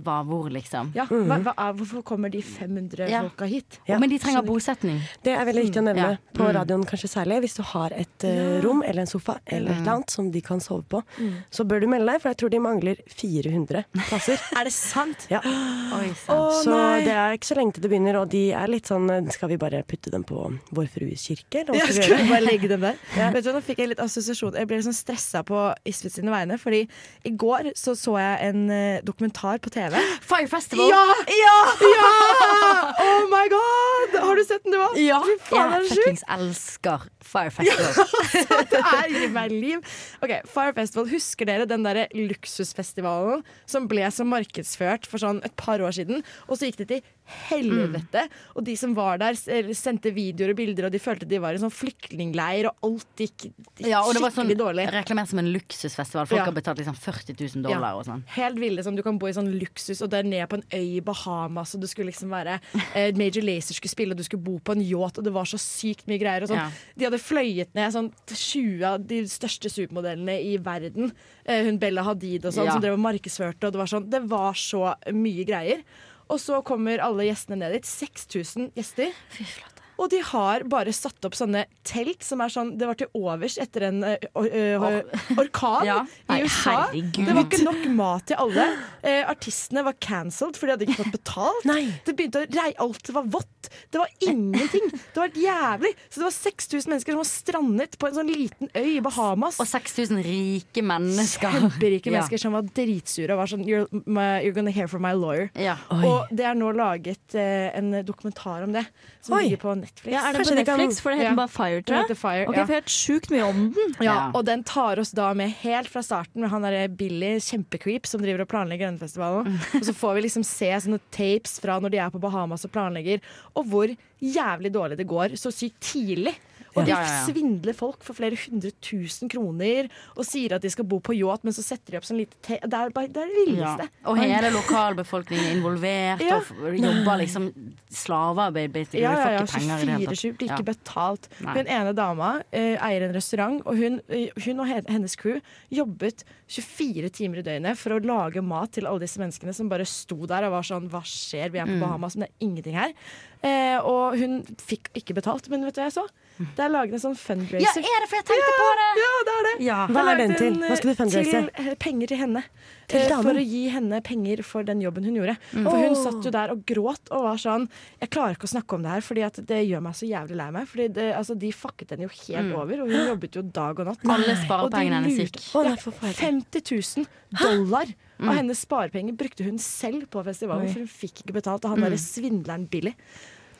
E: var hvor, liksom.
C: ja,
B: Mm.
C: hva, hva er, hvorfor kommer de 500
E: Ja.
C: folka hit?
E: Ja. Men de trenger bosetning.
B: Det er veldig viktig å nevne
E: Ja.
B: på
E: Mm.
B: radioen kanskje særlig. Hvis du har et eh, rom eller en sofa eller
E: Mm.
B: et eller annet som de kan sove på,
C: Mm.
B: så bør du melde deg, for jeg tror de mangler 400 plasser.
C: Er det sant?
B: Ja.
E: Oi,
B: så det er ikke så lenge til det begynner, og de er litt sånn eh, Skal vi bare putte dem på Vår Frues kirke, eller hva
C: Jeg
B: skal vi
C: skulle
B: gjøre?
C: bare legge dem der. Vet du hva, Nå fikk jeg litt assosiasjon. Jeg ble litt sånn stressa på Isfit sine vegne. Fordi i går så, så jeg en eh, dokumentar på TV.
E: Fire Festival!
C: Ja! ja, ja! Oh my god! Har du sett den, du òg?
E: Ja!
C: Fy faen,
E: jeg
C: er det sjukt?
E: fuckings elsker Fire Festival.
C: Det er i meg liv. Ok, Fire Festival, Husker dere den der luksusfestivalen som ble så markedsført for sånn et par år siden? Og så gikk det til helvete.
E: Mm.
C: Og de som var der, s- eller sendte videoer og bilder, og de følte de var i en sånn flyktningleir, og alt gikk, gikk
E: Ja, og det var sånn
C: skikkelig dårlig.
E: reklamert som en luksusfestival. Folk
C: Ja.
E: har betalt liksom 40 000 dollar
C: Ja.
E: og sånn.
C: Helt ville som du kan bo i sånn luksus, og der nede på en øy i Bahamas, og du skulle liksom være eh, Major Lazer skulle spille, og du skulle bo på en yacht, og det var så sykt mye greier. Og sånn.
E: Ja.
C: De hadde fløyet ned sånn 20 av de største supermodellene i verden. Eh, hun Bella Hadid og sånn,
E: Ja.
C: som drev og markedsførte, og det var sånn Det var så mye greier. Og så kommer alle gjestene ned dit. 6000 gjester. Og de har bare satt opp sånne telt som er sånn Det var til overs etter en eh, or, eh, orkan
E: Ja. Nei,
C: i USA.
E: herregud.
C: Det var ikke nok mat til alle. Eh, artistene var cancelled, for de hadde ikke fått betalt. Det begynte å rei, Alt var vått. Det var ingenting. Det var helt jævlig. Så det var 6000 mennesker som var strandet på en sånn liten øy i Bahamas.
E: Og 6000 rike mennesker.
C: Kjemperike
E: Ja.
C: mennesker som var dritsure og var sånn You're, my, you're gonna hear from my lawyer.
E: Ja.
C: Og det er nå laget eh, en dokumentar om det, som
D: Oi.
C: ligger på Netflix.
D: Ja, er det på Netflix? For det heter
C: Ja.
D: bare Fire,
C: Den
D: tror
C: heter
D: jeg.
C: Fire,
D: Ok,
C: ja.
D: For jeg har hørt sjukt mye om den.
C: Ja, og den tar oss da med helt fra starten med han derre Billy, kjempecreep, som driver og planlegger denne festivalen.
D: Mm.
C: Og så får vi liksom se sånne tapes fra når de er på Bahamas og planlegger, og hvor jævlig dårlig det går så sykt tidlig. Og de
E: Ja, ja, ja.
C: svindler folk for flere hundre tusen kroner og sier at de skal bo på yacht, men så setter de opp sånn lite te... Det er bare det er det villeste.
E: Ja. Og hele lokalbefolkningen er involvert
C: Ja.
E: og f- jobber liksom slavearbeid. basically.
C: Ja,
E: Vi
C: ja, ja.
E: får ikke penger i det hele tatt.
C: 24-7 blir ikke
E: Ja.
C: betalt.
E: Nei.
C: Hun ene dama eh, eier en restaurant, og hun, eh, hun og he- hennes crew jobbet 24 timer i døgnet for å lage mat til alle disse menneskene som bare sto der og var sånn Hva skjer? Vi er på
E: Mm.
C: Bahamas, men det er ingenting her. Eh, og hun fikk ikke betalt, men vet du hva jeg så? Det er laget en sånn fundraiser.
E: Mm. Ja, er det, for jeg tenkte på det!
C: Ja, det er det.
E: Ja.
C: Det
B: Hva er
C: laget
B: den til?
C: en, eh,
B: Hva skal du fundraise?
C: Til eh, penger til henne.
B: Til
C: Eh,
B: damen?
C: For å gi henne penger for den jobben hun gjorde.
B: Mm.
C: For hun
B: Åh.
C: satt jo der og gråt og var sånn Jeg klarer ikke å snakke om det her, Fordi at det gjør meg så jævlig lei meg. Fordi det, altså, de fucket henne jo helt
E: Mm.
C: over, og hun jobbet jo dag og natt.
E: Alle
C: Og de
E: sparepengene hennes
C: lurte-
E: gikk.
C: Ja, 50 000 dollar av hennes sparepenger brukte hun selv på festivalen,
E: Oi.
C: for hun fikk ikke betalt av han
E: Mm.
C: derre svindleren Billy.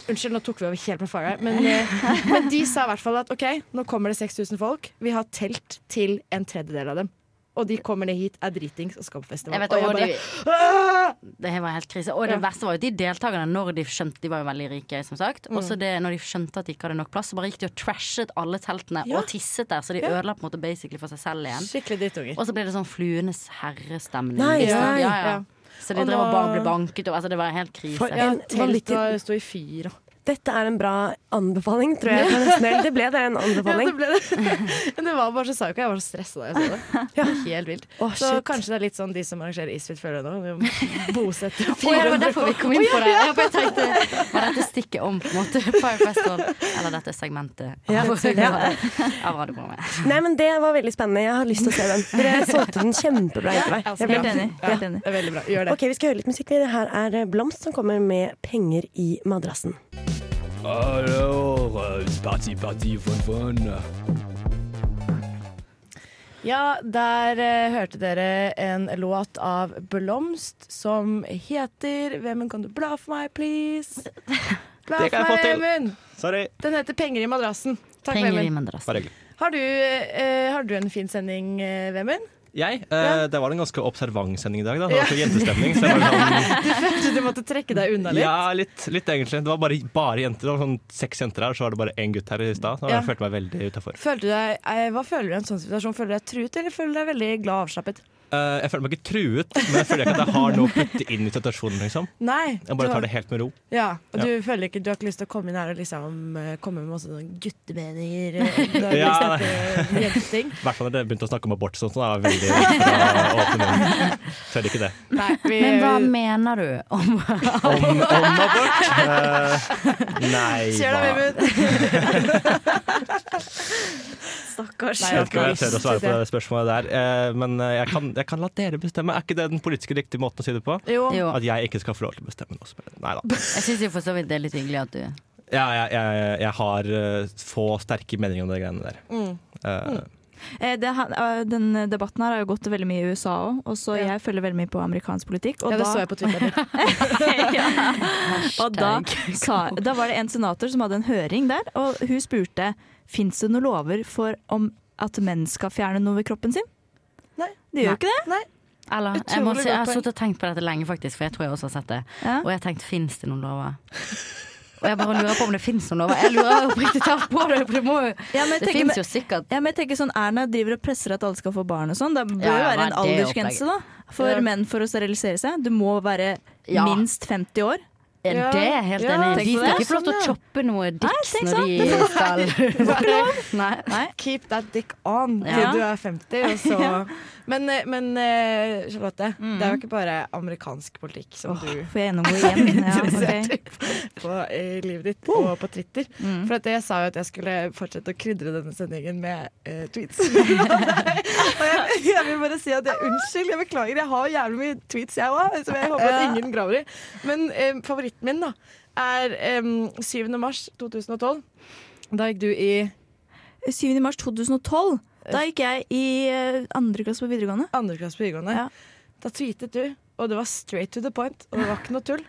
C: Unnskyld, nå tok vi over helt med fire. Men, eh, men de sa i hvert fall at OK, nå kommer det 6000 folk. Vi har telt til en tredjedel av dem. Og de kommer ned hit, er dritings og skal på festival.
E: Jeg vet,
C: og
E: og
C: jeg
E: de-
C: bare,
E: Det var helt krise. Og det
C: Ja.
E: verste var jo at de deltakerne, når de skjønte De var jo veldig rike, som sagt. Og
C: Mm.
E: så det- når de skjønte at de ikke hadde nok plass, så bare gikk de og trashet alle teltene
C: Ja.
E: og tisset der. Så de
C: Ja.
E: ødela på en måte basically for seg selv igjen.
C: Skikkelig drittunger.
E: Og så ble det sånn fluenes herrestemning.
C: Nei,
E: ikke sant?
C: nei.
E: ja, ja.
C: Ja.
E: Så de
C: Og
E: drev og
C: nå-
E: bare ble banket og altså, Det var helt krise.
C: For en telt var, sto i fyr og
B: Dette er en bra anbefaling, tror jeg. for nesten helt. Det ble det en anbefaling.
C: Ja, det ble det. Men det var bare så psyko. Jeg var så stressa da jeg så det. Helt vilt.
B: Å,
C: så
B: shit.
C: kanskje det er litt sånn de som arrangerer Isfjord føler nå. Vi må bosette
E: Å, ja, det var
C: 400
E: derfor vi kom
C: folk.
E: inn på
C: Å,
E: det.
C: ja, ja.
E: Ja, for jeg tenkte, Var dette stikket om, på en måte? Fire Festival. Eller dette segmentet
B: Ja,
E: av,
B: ja.
E: av radioprogrammet.
B: Nei, men Det var veldig spennende. Jeg har lyst til å se den. Dere solgte den kjempebra. Ikke meg.
E: altså, helt enig, helt enig.
B: Ja.
C: Veldig bra. Gjør det.
B: Ok, Vi skal høre litt musikk. Det her er Blomst som kommer med 'Penger i madrassen'.
P: Alors, euh, c'est parti, parti, fun, fun.
C: Ja, der eh, hørte dere en låt av Blomst som heter Vemund, kan du bla for meg, please? Bla
F: Det kan jeg
C: for
F: få
C: meg,
F: til.
C: Vemund!
F: Sorry.
C: Den heter Penger i madrassen. Takk,
F: Penger i
C: Vemund.
F: Bare hyggelig.
C: Har, du, eh, har du en fin sending, eh, Vemund?
F: Jeg? Eh, det var en ganske observant sending i dag. da Det
C: Ja.
F: var ikke jentestemning. Så jeg var sånn,
C: Du følte du måtte trekke deg unna litt?
F: ja, litt, litt egentlig. Det var bare, bare jenter. Det var sånn seks jenter her, og så var det bare én gutt her i stad. Så
C: Ja.
F: Jeg følte meg veldig utafor.
C: Følte du deg, eh, hva føler du i en sånn situasjon? Føler du deg truet, eller føler du deg veldig glad og avslappet?
F: Eh, jeg føler meg ikke truet, men jeg føler ikke at jeg har noe å putte inn i situasjonen. liksom
C: Nei.
F: Jeg bare
C: du har-
F: tar det helt med ro.
C: Ja, og
F: Ja.
C: du føler ikke du har ikke lyst til å komme inn her og liksom eh, komme med masse sånn guttemeninger?
F: Ja,
C: ja,
F: nei. I
C: jenteting?
F: hvert fall når dere begynte å snakke om abort og sånt. Da er jeg veldig fra åpen munn. Tør ikke det.
C: Nei, vi,
E: Men hva mener du om
F: Om, om abort? Eh, nei,
C: Skjer det,
F: hva
C: Stakkars.
F: Jeg vet ikke hva jeg tør å svare på det spørsmålet der. eh, Men eh, jeg kan, jeg kan la dere bestemme. Er ikke det den politiske riktige måten å si det på?
C: Jo.
E: Jo.
F: At jeg ikke skal få lov til å bestemme noe som helst. Nei da.
E: Jeg syns jo for så vidt det er litt hyggelig at du
F: Ja, jeg, jeg, jeg har eh, få sterke meninger om de greiene der.
D: Mm.
F: Eh,
D: Eh, det, han- eh, den debatten her har jo gått veldig mye i USA òg, og så jeg følger veldig mye på amerikansk politikk. Og
C: Ja, det så jeg på Twitter.
D: og da, sa, da var det en senater som hadde en høring der, og hun spurte fins det noen lover for om at menn skal fjerne noe ved kroppen sin.
C: Nei.
D: Det gjør jo ikke det.
C: Nei.
E: Eller, jeg, må,
D: Utrolig
E: si- jeg har
D: godt poeng.
E: sittet og tenkt på dette lenge, faktisk, for jeg tror jeg også har sett det.
D: Ja.
E: Og jeg har tenkt fins det noen lover? Og jeg bare lurer på om det fins noen lover. Jeg lurer oppriktig talt på det, for det må jo
D: Ja, men jeg
E: Det
D: tenker
E: fins
D: med-
E: jo sikkert.
D: Ja, men jeg tenker sånn, Erna driver og presser at alle skal få barn og sånn. Det bør jo
E: Ja, ja,
D: være en
E: hva er det
D: aldersgrense da
E: opplegget?
D: for
E: Ja.
D: menn for å sterilisere seg. Du må være
E: Ja.
D: minst 50 år.
E: Det er jeg helt enig. i. De skal ikke få lov til å choppe noe dicks
D: tenk
E: når
D: sånn.
E: de
D: Det
E: skal Nei.
C: Keep that dick on
D: sånn.
C: til
E: Ja.
C: du er 50, og så Men, eh, men eh, Charlotte, det er jo ikke bare amerikansk politikk som
D: Mm. Åh,
C: du
D: får jeg gjennomgå igjen? Ja, ok. Mm.
C: interessert i på i livet ditt og på Twitter. For at jeg sa jo at jeg skulle fortsette å krydre denne sendingen med eh, tweets. og jeg, jeg vil bare si at jeg unnskyld, jeg beklager. Jeg har jævlig mye tweets, jeg òg, som jeg håper at
D: Ja.
C: ingen graver i. Men eh, favoritten min da er eh, 7. mars 2012. Da gikk du i
D: 7. mars 2012. Da gikk jeg i eh, andre klasse på videregående.
C: Andre klasse på videregående. Da tweetet du, og det var straight to the point, og det var ikke noe tull.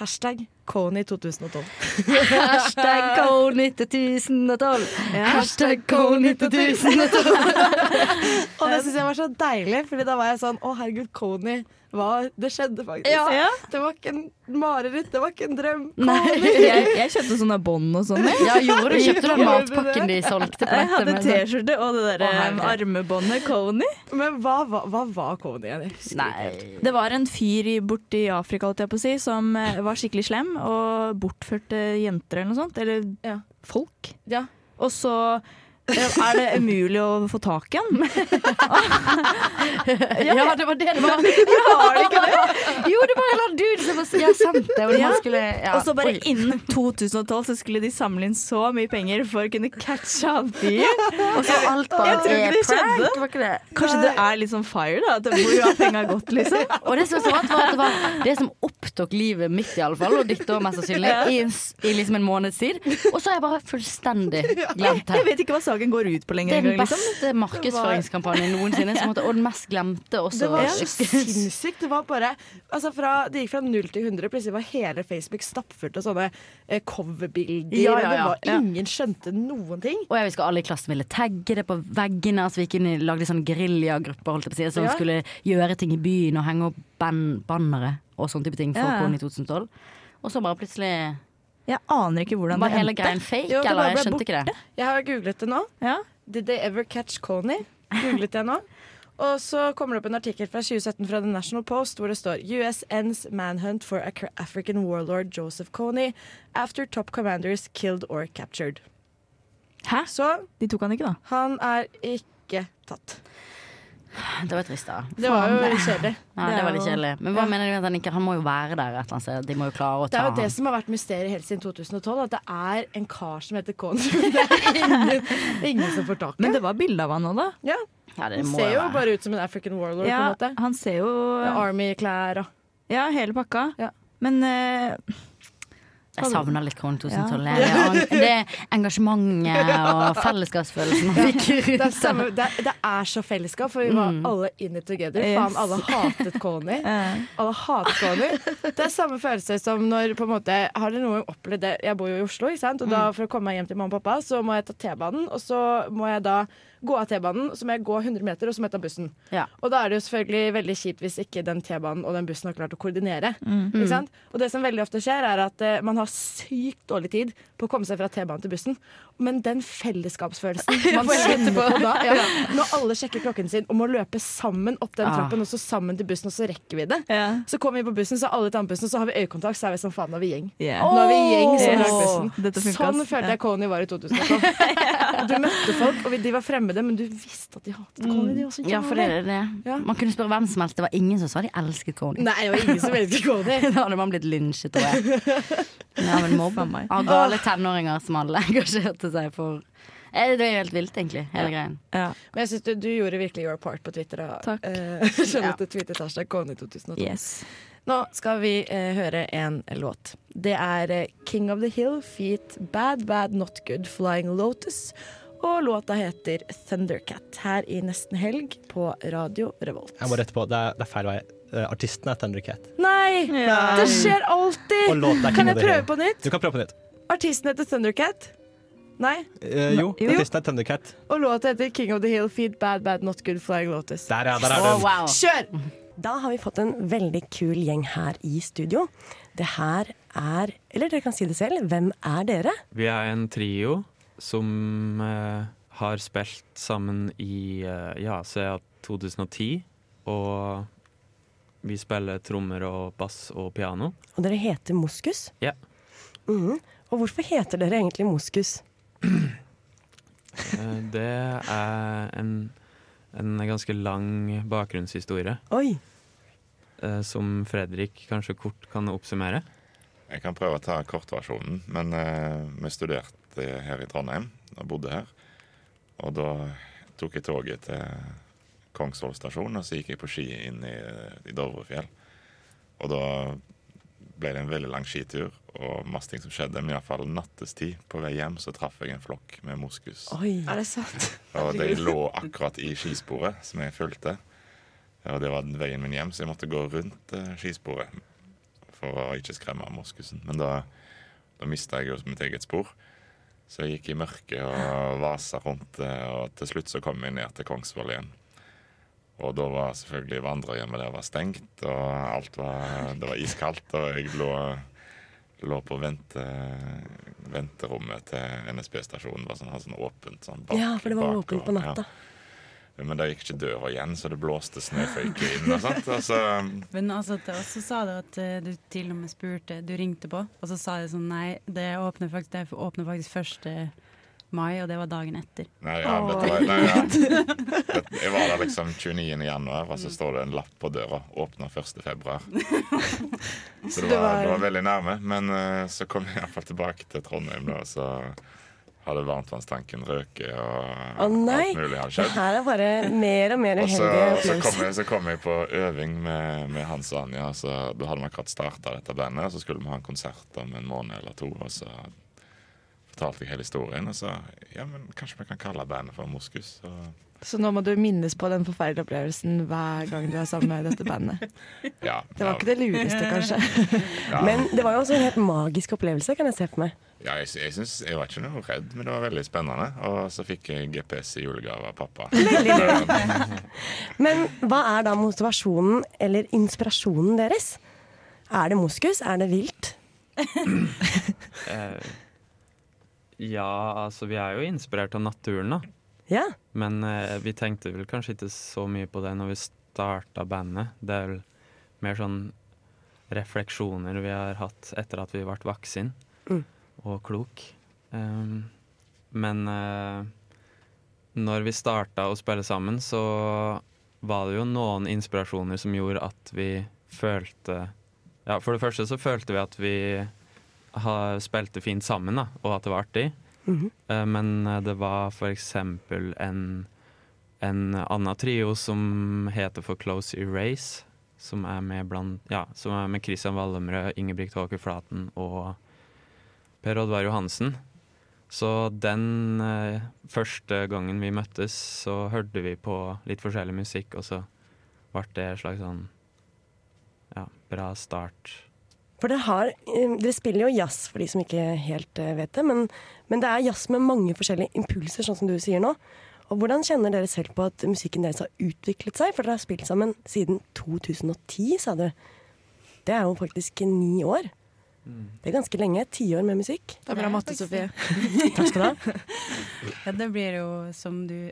C: Hashtag Kony2012.
E: Hashtag K9012. Hashtag K9012.
C: og det syns jeg var så deilig, Fordi da var jeg sånn Å, herregud, Kony var Det skjedde faktisk.
D: Ja. Ja.
C: Det var ikke en mareritt, det var ikke en drøm.
D: jeg, jeg kjøpte sånne bånd og sånn. jeg.
E: Ja, gjorde du? Kjøpte du den
D: Gjorde
E: matpakken
D: det?
E: de solgte på
D: Jeg
E: nettet
D: hadde
E: med sånn-
D: T-skjorte og det eh,
E: Å,
D: derre
E: herre.
D: armebåndet Kony.
C: Men hva, hva, hva var Kony igjen? Jeg husker ikke helt.
D: Det var en fyr i- borti Afrika holdt jeg på å si, som eh, var skikkelig slem og bortførte jenter eller noe sånt. Eller folk.
C: Ja.
D: Og så eh, er det umulig å få tak i han.
E: Ja, det var det det var. Jo, det var en eller annen dude som var Ja, sant det. Og det
D: Ja.
E: var skulle ja.
D: Og så bare
E: Oi.
D: innen 2012 så skulle de samle inn så mye penger for å kunne catche han fyren.
E: Og så alt bare
D: Jeg tror ikke det
E: er prank,
D: skjedde.
E: var ikke det?
D: Kanskje det er litt sånn fire, da. At det- hvor har penga gått, liksom?
E: Og det som var så rart, var at det var det som opptok livet mitt, i alle fall, og ditt òg, mest sannsynlig,
D: Ja.
E: i, en, s- i liksom en måneds tid. Og så har jeg bare fullstendig
D: Jeg,
E: glemt det.
D: jeg vet ikke hva saken går ut på lenger.
E: Den
D: engang, liksom.
E: beste markedsføringskampanjen noensinne, som måtte, og den mest glemte også.
C: Det var så sinnssykt. Det var bare altså fra, Det gikk fra null til 100. Plutselig var hele Facebook stappfullt av sånne eh, coverbilder.
E: Ja, ja,
C: og det
E: ja,
C: var
E: ja.
C: Ingen skjønte noen ting.
E: Og jeg husker alle i klassen ville tagge det på veggene. Altså vi gikk inn i, lagde sånn geriljagrupper holdt jeg på å si, som
C: Ja.
E: skulle gjøre ting i byen og henge opp ban bannere og sånne type ting for
D: Ja.
E: Kony 2012. Og så bare plutselig
D: Jeg aner ikke hvordan
E: Var
D: det
E: hele
D: endte.
E: greien fake,
C: Jo, det
E: eller?
C: bare
E: Jeg
C: ble
E: skjønte ikke det.
C: Jeg har googlet det nå. Did they ever catch Kony? Googlet jeg nå. Og så kommer det opp en artikkel fra 2017 fra The National Post hvor det står US ends manhunt for Ac- African warlord Joseph Kony after top commanders killed or captured.
D: Hæ?
C: Så
D: De tok han ikke, da?
C: han er ikke tatt.
E: Det var trist, da.
C: Det var jo
E: Faen.
C: litt kjedelig.
E: Ja,
C: Det
E: det
C: er
E: var litt
C: jo-
E: kjedelig. Men hva mener du med at han ikke Han må jo være der et eller annet sted. De må jo klare å
C: Det
E: ta
C: er jo det
E: han.
C: som har vært mysteriet helt siden 2012, at det er en kar som heter Kony. Det er ingen, ingen som får tak i
D: Men det var bilde av han nå, da.
C: Ja.
E: Ja, det
C: Han
E: må
C: ser
E: jo
C: jo
E: være.
C: bare ut som en African warlord,
D: Ja,
C: på en måte.
D: han ser jo
C: Med Army-klær og
D: Ja, hele pakka. Men eh,
E: Jeg savner litt Kronen 2012.
D: Ja.
E: Det, er- det er engasjementet og fellesskapsfølelsen
C: Ja,
E: han fikk
C: det, er
E: rundt
C: samme, det, er, det er så fellesskap, for vi var
E: Mm.
C: alle in it together.
D: Yes.
C: Faen, alle hatet Kony. Alle hatet Kony. Det er samme følelse som når på en måte, Har dere noen gang opplevd det? Jeg bor jo i Oslo, ikke sant? og
E: Mm.
C: da for å komme meg hjem til mamma og pappa, så må jeg ta T-banen. Og så må jeg da gå av T-banen, så må jeg gå 100 meter, og så må jeg ta bussen.
E: Ja.
C: Og da er det jo selvfølgelig veldig kjipt hvis ikke den T-banen og den bussen har klart å koordinere.
E: Mm.
C: Ikke sant? Og det som veldig ofte skjer, er at eh, man har sykt dårlig tid på å komme seg fra T-banen til bussen. Men den fellesskapsfølelsen man
O: Får jeg
C: kjenner på
O: etterpå.
C: da, ja,
O: Ja.
C: når alle sjekker klokken sin og må løpe sammen opp den
O: Ah.
C: trappen, og så sammen til bussen, og så rekker vi det. Så kommer vi på bussen, så har alle tar bussen, så har vi øyekontakt, så er vi som faen, nå er vi gjeng.
D: Yeah.
C: Nå er vi gjeng som
D: Yes.
C: har bussen.
D: Dette funker,
C: Sånn
D: ass.
C: følte
D: Ja.
C: jeg Kony var i 2012. Du møtte folk, og vi- de var fremmede, men du visste at de hatet Kony, de også.
E: Mm. Ja, for det er det. Man kunne spørre hvem som helst. Det var ingen som sa de elsket Kony.
C: Nei, det var ingen som elsket Kony.
E: da hadde man blitt lynsjet, tror jeg. Ja, men mobba meg. Av gale tenåringer som alle engasjerte seg for. Eh, Det er jo helt vilt, egentlig, hele greien.
C: Men jeg synes du, du gjorde virkelig your part på Twitter. Og,
E: Takk.
C: eh, Charlotte tweetet hashtag Kony 2012.
D: Yes.
C: Nå skal vi eh, høre en låt. Det er eh, King of the Hill feat Bad Bad Not Good Flying Lotus. Og låta heter Thundercat her i nesten helg på Radio Revolt.
F: Jeg må rette på, det er, det er feil vei. Eh, Artisten er Thunder Cat.
C: Nei!
F: Ja.
C: Det skjer
F: Og
C: alltid!
F: låten er
C: Kan
F: King
C: jeg
F: of the
C: prøve
F: Hill.
C: på nytt?
F: Du kan prøve på nytt.
C: Artisten heter Thundercat. Nei.
F: Eh, jo,
C: Jo.
F: artisten er Thundercat.
C: Og låta heter King of the Hill feat Bad Bad Not Good Flying Lotus.
F: Der, ja, der er den.
C: Kjør!
B: Da har vi fått en veldig kul gjeng her i studio. Det her er, eller dere kan si det selv, hvem er dere?
Q: Vi er en trio som eh, har spilt sammen i uh, ja, siden 2010. Og vi spiller trommer og bass og piano.
B: Og dere heter Moskus.
Q: Ja.
B: Mhm. Og hvorfor heter dere egentlig Moskus?
Q: eh, det er en, en ganske lang bakgrunnshistorie.
B: Oi.
Q: eh, som Fredrik kanskje kort kan oppsummere.
R: Jeg kan prøve å ta kortversjonen, men eh, vi studerte her i Trondheim og bodde her. Og da tok jeg toget til Kongsvoll stasjon, og så gikk jeg på ski inn i, i Dovrefjell. Og da ble det en veldig lang skitur og masse ting som skjedde, men iallfall nattestid på vei hjem så traff jeg en flokk med moskus.
K: Er det sant?
R: Og de lå akkurat i skisporet som jeg fulgte. Og det var den veien min hjem, så jeg måtte gå rundt eh, skisporet for å ikke skremme av moskusen. Men da, da mista jeg jo mitt eget spor. Så jeg gikk i mørket og vasa rundt, eh, og til slutt så kom jeg ned til Kongsvoll igjen. Og da var selvfølgelig vandrehjemmet der var stengt, og alt var, det var iskaldt, og jeg lå, lå på vente, venterommet til NSB-stasjonen. var sånn, hadde sånn åpent sånn bak,
B: Ja, for det var
R: bakover,
B: åpent på natta.
R: Ja. Men da gikk ikke døra igjen, så det blåste snøføyke inn. og sånt, og så
S: Men altså, til oss så sa du at eh, du til og med spurte, du ringte på, og så sa de sånn nei, det åpner faktisk, det åpner faktisk 1. mai, og det var dagen etter.
R: Nei, ja, vet du hva? Nei, ja. Vet- Jeg var der liksom 29. januar, og så står det en lapp på døra. Åpner 1. februar. Så det
L: Det
R: var,
L: var-
R: det var veldig nærme. Men eh, så kom jeg iallfall tilbake til Trondheim, da, og så hadde varmtvannstanken røket, og
B: Å nei!
R: alt mulig hadde
B: Det
R: skjedd.
B: her er bare mer og mer
R: Og så,
B: uheldige
R: og så, kom jeg,
B: opplevelser.
R: så kom jeg på øving med, med Hans og Anja. og Så, da hadde vi akkurat starta dette bandet, og så skulle vi ha en konsert om en måned eller to. Og så fortalte jeg hele historien, og så ja, men kanskje vi kan kalle bandet for Moskus. Og
C: Så nå må du minnes på den forferdelige opplevelsen hver gang du er sammen med dette bandet.
R: Ja,
C: Det var
R: ja.
C: ikke det lureste, kanskje.
R: Ja.
B: Men det var jo også en helt magisk opplevelse, kan jeg se for meg.
R: Ja, jeg, sy- jeg, syns, jeg var ikke noe redd, men det var veldig spennende. Og så fikk jeg GPS i julegave av pappa.
B: Men hva er da motivasjonen eller inspirasjonen deres? Er det moskus? Er det vilt?
Q: Eh, ja, altså vi er jo inspirert av naturen, da.
B: Ja.
Q: Men eh, vi tenkte vel kanskje ikke så mye på det når vi starta bandet. Det er vel mer sånn refleksjoner vi har hatt etter at vi ble voksen
B: Mm.
Q: og klok. Ehm, men eh, når vi starta å spille sammen, så var det jo noen inspirasjoner som gjorde at vi følte Ja, for det første så følte vi at vi har, spilte fint sammen, da, og at det var artig.
B: Mhm.
Q: Eh, Men eh, det var for eksempel en, en annen trio som heter for Close Erase, som er med, blant, ja, som er med Christian Wallemrød, Ingebrigt Håker Flaten og Per Oddvar Johansen. Så den eh, første gangen vi møttes, så hørte vi på litt forskjellig musikk, og så ble det en slags sånn ja, bra start.
B: For dere, har, eh, dere spiller jo jazz, for de som ikke helt eh, vet det. Men, men det er jazz med mange forskjellige impulser, sånn som du sier nå. Og Hvordan kjenner dere selv på at musikken deres har utviklet seg? For dere har spilt sammen siden 2010, sa du. Det er jo faktisk ni år.
C: Mm.
B: Det er ganske lenge. Tiår med musikk.
C: Det er bra matte, Sofie.
B: Takk skal du ha.
S: Ja, det blir jo som du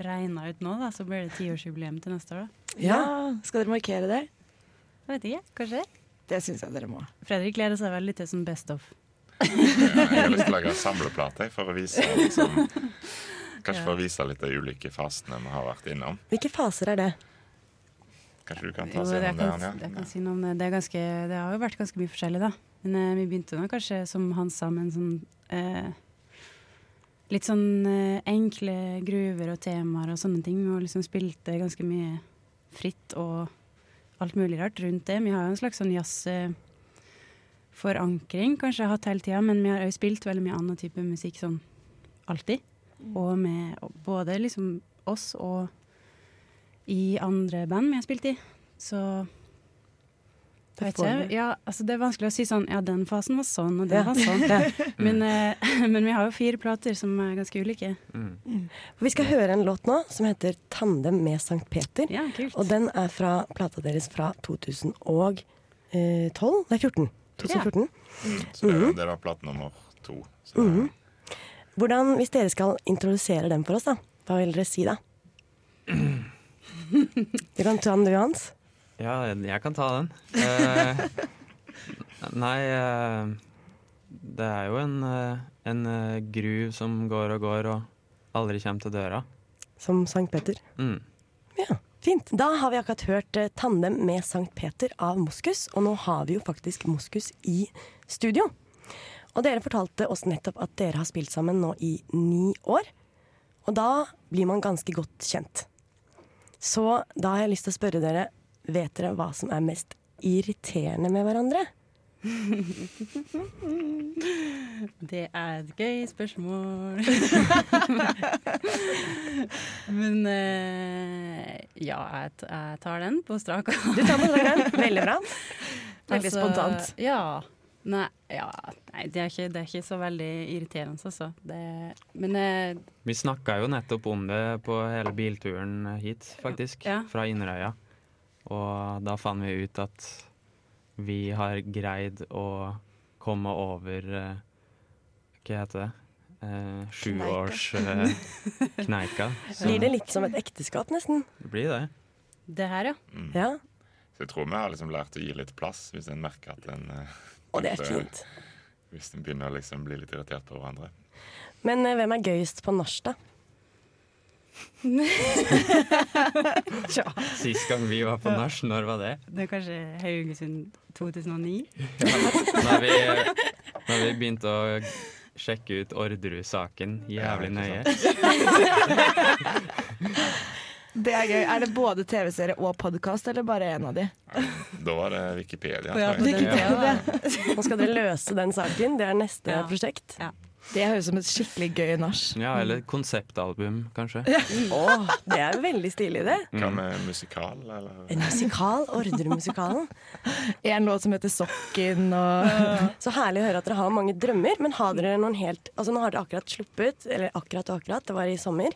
S: regna ut nå, da, så blir det tiårsjubileum til neste år, da.
C: Ja. Skal dere markere det?
S: Jeg vet ikke, kanskje?
C: Det syns jeg dere må.
S: Fredrik gleder seg veldig til sånn best of.
R: Jeg har lyst til å lage en samleplate jeg, for å vise liksom, Kanskje for å vise litt de ulike fasene vi har vært innom.
B: Hvilke faser er det?
R: Kanskje du kan ta
S: Jo,
R: oss
S: det jeg
R: gjennom det?
S: kan,
R: Anja?
S: jeg kan si noe om det. Det, er ganske, det har jo vært ganske mye forskjellig, da. Men eh, vi begynte nå kanskje, som han sa, med en sånn eh, Litt sånn eh, enkle gruver og temaer og sånne ting. Og liksom spilte ganske mye fritt og alt mulig rart rundt det. Vi har jo en slags sånn jazz... Eh, forankring kanskje jeg har hatt hele tida, men vi har også spilt veldig mye annen type musikk sånn alltid. Og med og både liksom oss og i andre band vi har spilt i. Så jeg vet
B: får
S: ikke.
B: vi.
S: Ja, altså det er vanskelig å si sånn ja, den fasen var sånn, og den
B: Ja.
S: var sånn.
B: Ja.
S: Men, eh, men vi har jo fire plater som er ganske ulike.
B: Mm. Vi skal høre en låt nå som heter 'Tandem med Sankt Peter'. Og den er fra plata deres fra 2012? eh, Nei, 14. 2014.
R: Så det, det var plate nummer to. Så
B: Mhm. Hvordan, Hvis dere skal introdusere den for oss, da, hva vil dere si da? Du kan ta den du, Hans.
Q: Ja, jeg kan ta den. Eh, nei, eh, det er jo en, eh, en eh, gruv som går og går og aldri kommer til døra.
B: Som Sankt Peter.
Q: Mm.
B: Ja, fint. Da har vi akkurat hørt eh, 'Tandem med Sankt Peter' av Moskus, og nå har vi jo faktisk Moskus i studio. Og dere fortalte oss nettopp at dere har spilt sammen nå i ni år, og da blir man ganske godt kjent. Så da har jeg lyst til å spørre dere, vet dere hva som er mest irriterende med hverandre?
S: Det er et gøy spørsmål. Men eh, ja, jeg, t jeg tar den på strak arm. Altså,
B: Du tar på strak arm. Veldig bra. Veldig spontant.
S: Ja. Nei, ja, nei det, er ikke, det er ikke så veldig irriterende, altså. Det, men eh,
Q: Vi snakka jo nettopp om det på hele bilturen hit, faktisk,
S: Ja.
Q: fra Inderøya. Og da fant vi ut at vi har greid å komme over eh, Hva heter det? Eh, Sjuårskneika. Eh, kneika. Så
B: Blir det litt som et ekteskap, nesten?
Q: det blir det.
S: det her, ja.
Q: Mm.
B: Ja.
R: Så jeg tror vi har liksom lært å gi litt plass hvis en merker at en eh,
B: Og det er
R: at, eh,
B: fint.
R: Hvis en begynner å liksom bli litt irritert på hverandre.
B: Men eh, hvem er gøyest på norsk, da?
S: Tja.
Q: Sist gang vi var på nach, når var det?
S: Det er kanskje Haugesund 2009?
Q: Når vi, når vi begynte å sjekke ut Orderud-saken jævlig nøye.
C: Det er gøy. Er det både TV-serie og podkast, eller bare én av de?
R: Da var det Wikipedia.
C: Å ja,
R: tror jeg.
B: Nå skal dere løse den saken. Det er neste
C: Ja.
B: prosjekt.
C: Det høres ut som et skikkelig gøy nach.
Q: Ja, eller konseptalbum, kanskje. Mm.
B: Åh, det er veldig stilig, det.
R: Hva med musikal, eller?
B: En musikal. Ordremusikalen.
C: En låt som heter 'Sokken' og
B: Så herlig å høre at dere har mange drømmer. Men har dere noen helt Altså nå har dere akkurat sluppet, eller akkurat og akkurat, det var i sommer,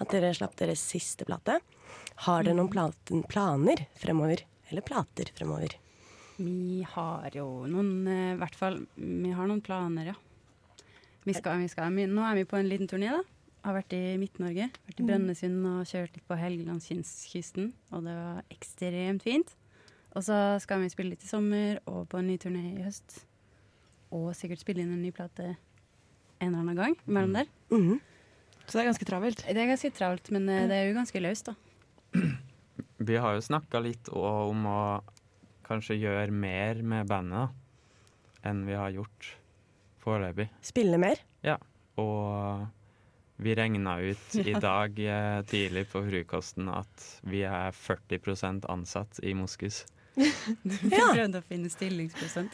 B: at dere slapp deres siste plate. Har dere noen platen, planer fremover? Eller plater fremover?
S: Vi har jo noen eh, hvert fall, vi har noen planer, ja. Vi skal, vi skal, vi, nå er vi på en liten turné, da. Har vært i Midt-Norge. Vært i
I: Mm.
S: Brønnøysund og kjørt litt på Helgelandskysten. Og det var ekstremt fint. Og så skal vi spille litt i sommer og på en ny turné i høst. Og sikkert spille inn en ny plate en eller annen gang mellom der.
C: Mm. Mm-hmm. Så det er ganske travelt? Mm.
S: Det er ganske travelt, men eh, det er jo ganske løst, da.
Q: Vi har jo snakka litt og om å kanskje gjøre mer med bandet da, enn vi har gjort foreløpig.
B: Spille mer?
Q: Ja. Og vi regna ut i
B: Ja.
Q: dag eh, tidlig på frokosten at vi er 40 ansatt i Moskus.
S: Vi prøvde å finne stillingsprosent.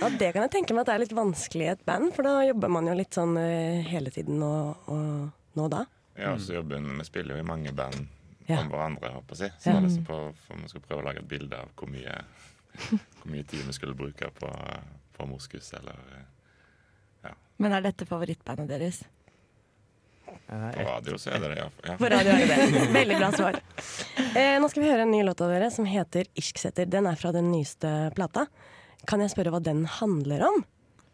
B: Ja, det kan jeg tenke meg at det er litt vanskelig i et band, for da jobber man jo litt sånn eh, hele tiden og, og nå og da.
R: Ja, og så jobber hun- Vi spiller jo i mange band
B: Ja.
R: om hverandre, håper jeg. å si. Så
B: Ja.
R: det var liksom på, for vi skulle prøve å lage et bilde av hvor mye, hvor mye tid vi skulle bruke på, på Moskus, eller
C: Men er dette favorittbandet deres?
R: På radio så er det det, ja.
B: På radio er det det. Veldig bra svar. Eh, nå skal vi høre en ny låt av dere som heter Irsksetter. Den er fra den nyeste plata. Kan jeg spørre hva den handler om?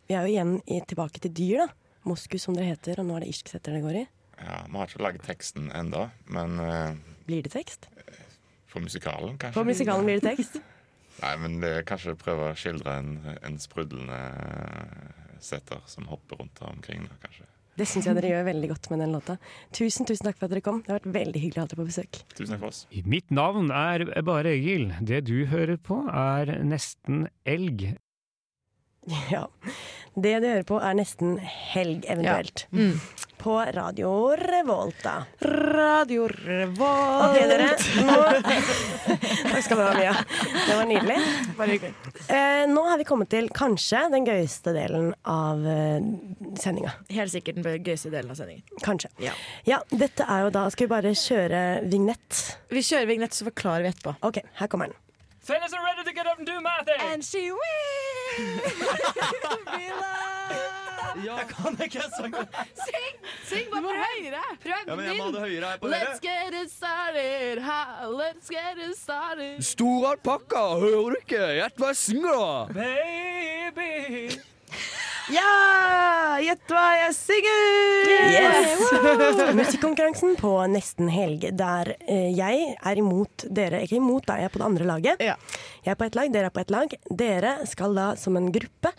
B: Vi er jo igjen i, tilbake til dyr, da. Moskus som dere heter, og nå er det Irsksetter det går i.
R: Ja, Vi har ikke laget teksten ennå, men eh,
B: Blir det tekst?
R: for musikalen, kanskje?
B: På musikalen blir det tekst.
R: Nei, men det er kanskje prøve å skildre en, en sprudlende setter som hopper rundt her omkring, da, kanskje.
B: Det syns jeg dere gjør veldig godt med den låta. Tusen, tusen takk for at dere kom. Det har vært veldig hyggelig å ha dere på besøk.
R: Tusen takk for oss.
T: Mitt navn er Bare Egil. Det du hører på er nesten elg.
B: Ja. Det du hører på, er nesten helg, eventuelt. På Radio Revolta.
C: Radio
B: Ok,
C: Revolt.
B: dere. Nå... Takk skal du ha, Mia. Det var nydelig.
C: Bare hyggelig.
B: Eh, nå har vi kommet til kanskje den gøyeste delen av eh, sendinga.
C: Helt sikkert den gøyeste delen av sendingen.
B: Kanskje.
C: Ja.
B: Ja, dette er jo da Skal vi bare kjøre vignett?
C: Vi kjører vignett, så forklarer vi etterpå.
B: OK, her kommer den.
T: Fellas are ready to get up and do my thing! And
C: she
F: Jeg kan ikke sange.
I: Syng! Syng bare prøv! Prøv
F: Ja, men jeg må ha det høyere her på dere.
I: Let's get it started, ha, let's get it started.
J: Stor alpakka, hører du ikke? Gjett hva jeg synger, da!
T: Baby!
C: Ja! Gjett hva jeg synger!
B: Musikkonkurransen på nesten helg, der eh, jeg er imot dere. Ikke imot deg, jeg er på det andre laget. Jeg er på ett lag, dere er på ett lag. Dere skal da som en gruppe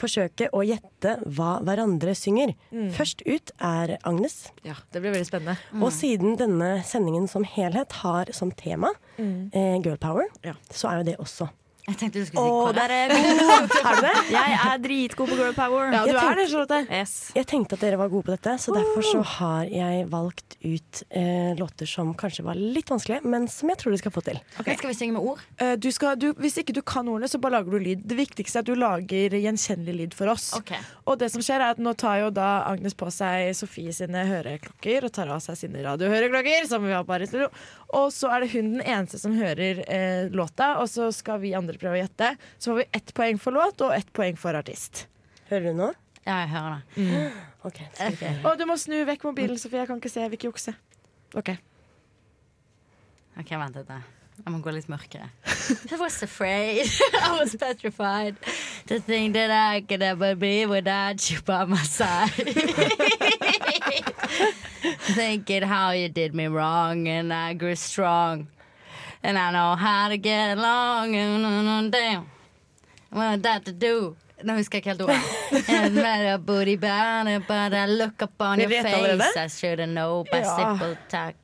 B: forsøke å gjette hva hverandre synger.
C: Mm.
B: Først ut er Agnes.
C: Ja, det blir veldig spennende.
B: Og siden denne sendingen som helhet har som tema
C: Mm.
B: eh, girl power, så er jo det også.
E: Jeg tenkte du skulle
B: Å,
E: si
B: der er jeg god! Er du det?
D: Jeg er dritgod på girl power.
B: Jeg tenkte-
D: Yes.
B: Jeg tenkte at dere var gode på dette, så derfor så har jeg valgt ut eh, låter som kanskje var litt vanskelige, men som jeg tror dere skal få til.
E: Skal vi synge med ord?
C: Eh, Du skal, du, hvis ikke du kan ordene, så bare lager du lyd. Det viktigste er at du lager gjenkjennelig lyd for oss. Og det som skjer er at nå tar jo da Agnes på seg Sofie sine høreklokker og tar av seg sine radiohøreklokker. Som vi har bare i studio. Og så er det hun den eneste som hører eh, låta, og så skal vi andre prøve å gjette. Så får vi ett poeng for låt og ett poeng for artist.
B: Hører du nå?
E: Ja, jeg hører det.
C: Mm. Og du må snu vekk mobilen, Sofie. Jeg kan ikke se. Jeg vil ikke jukse. Ok.
E: OK, vent litt. da. Jeg må gå litt mørkere. I was afraid. I was petrified. To think that I could ever be without you by my side. Thinking how you did me wrong, and I grew strong. And I know how to get along, and on on down. What that to do? Nå husker jeg ikke helt ordet. And met a booty bound, but I look upon
C: Vi
E: your
C: vet
E: face.
C: allerede.
E: I should know by
C: Ja.
E: simple tack.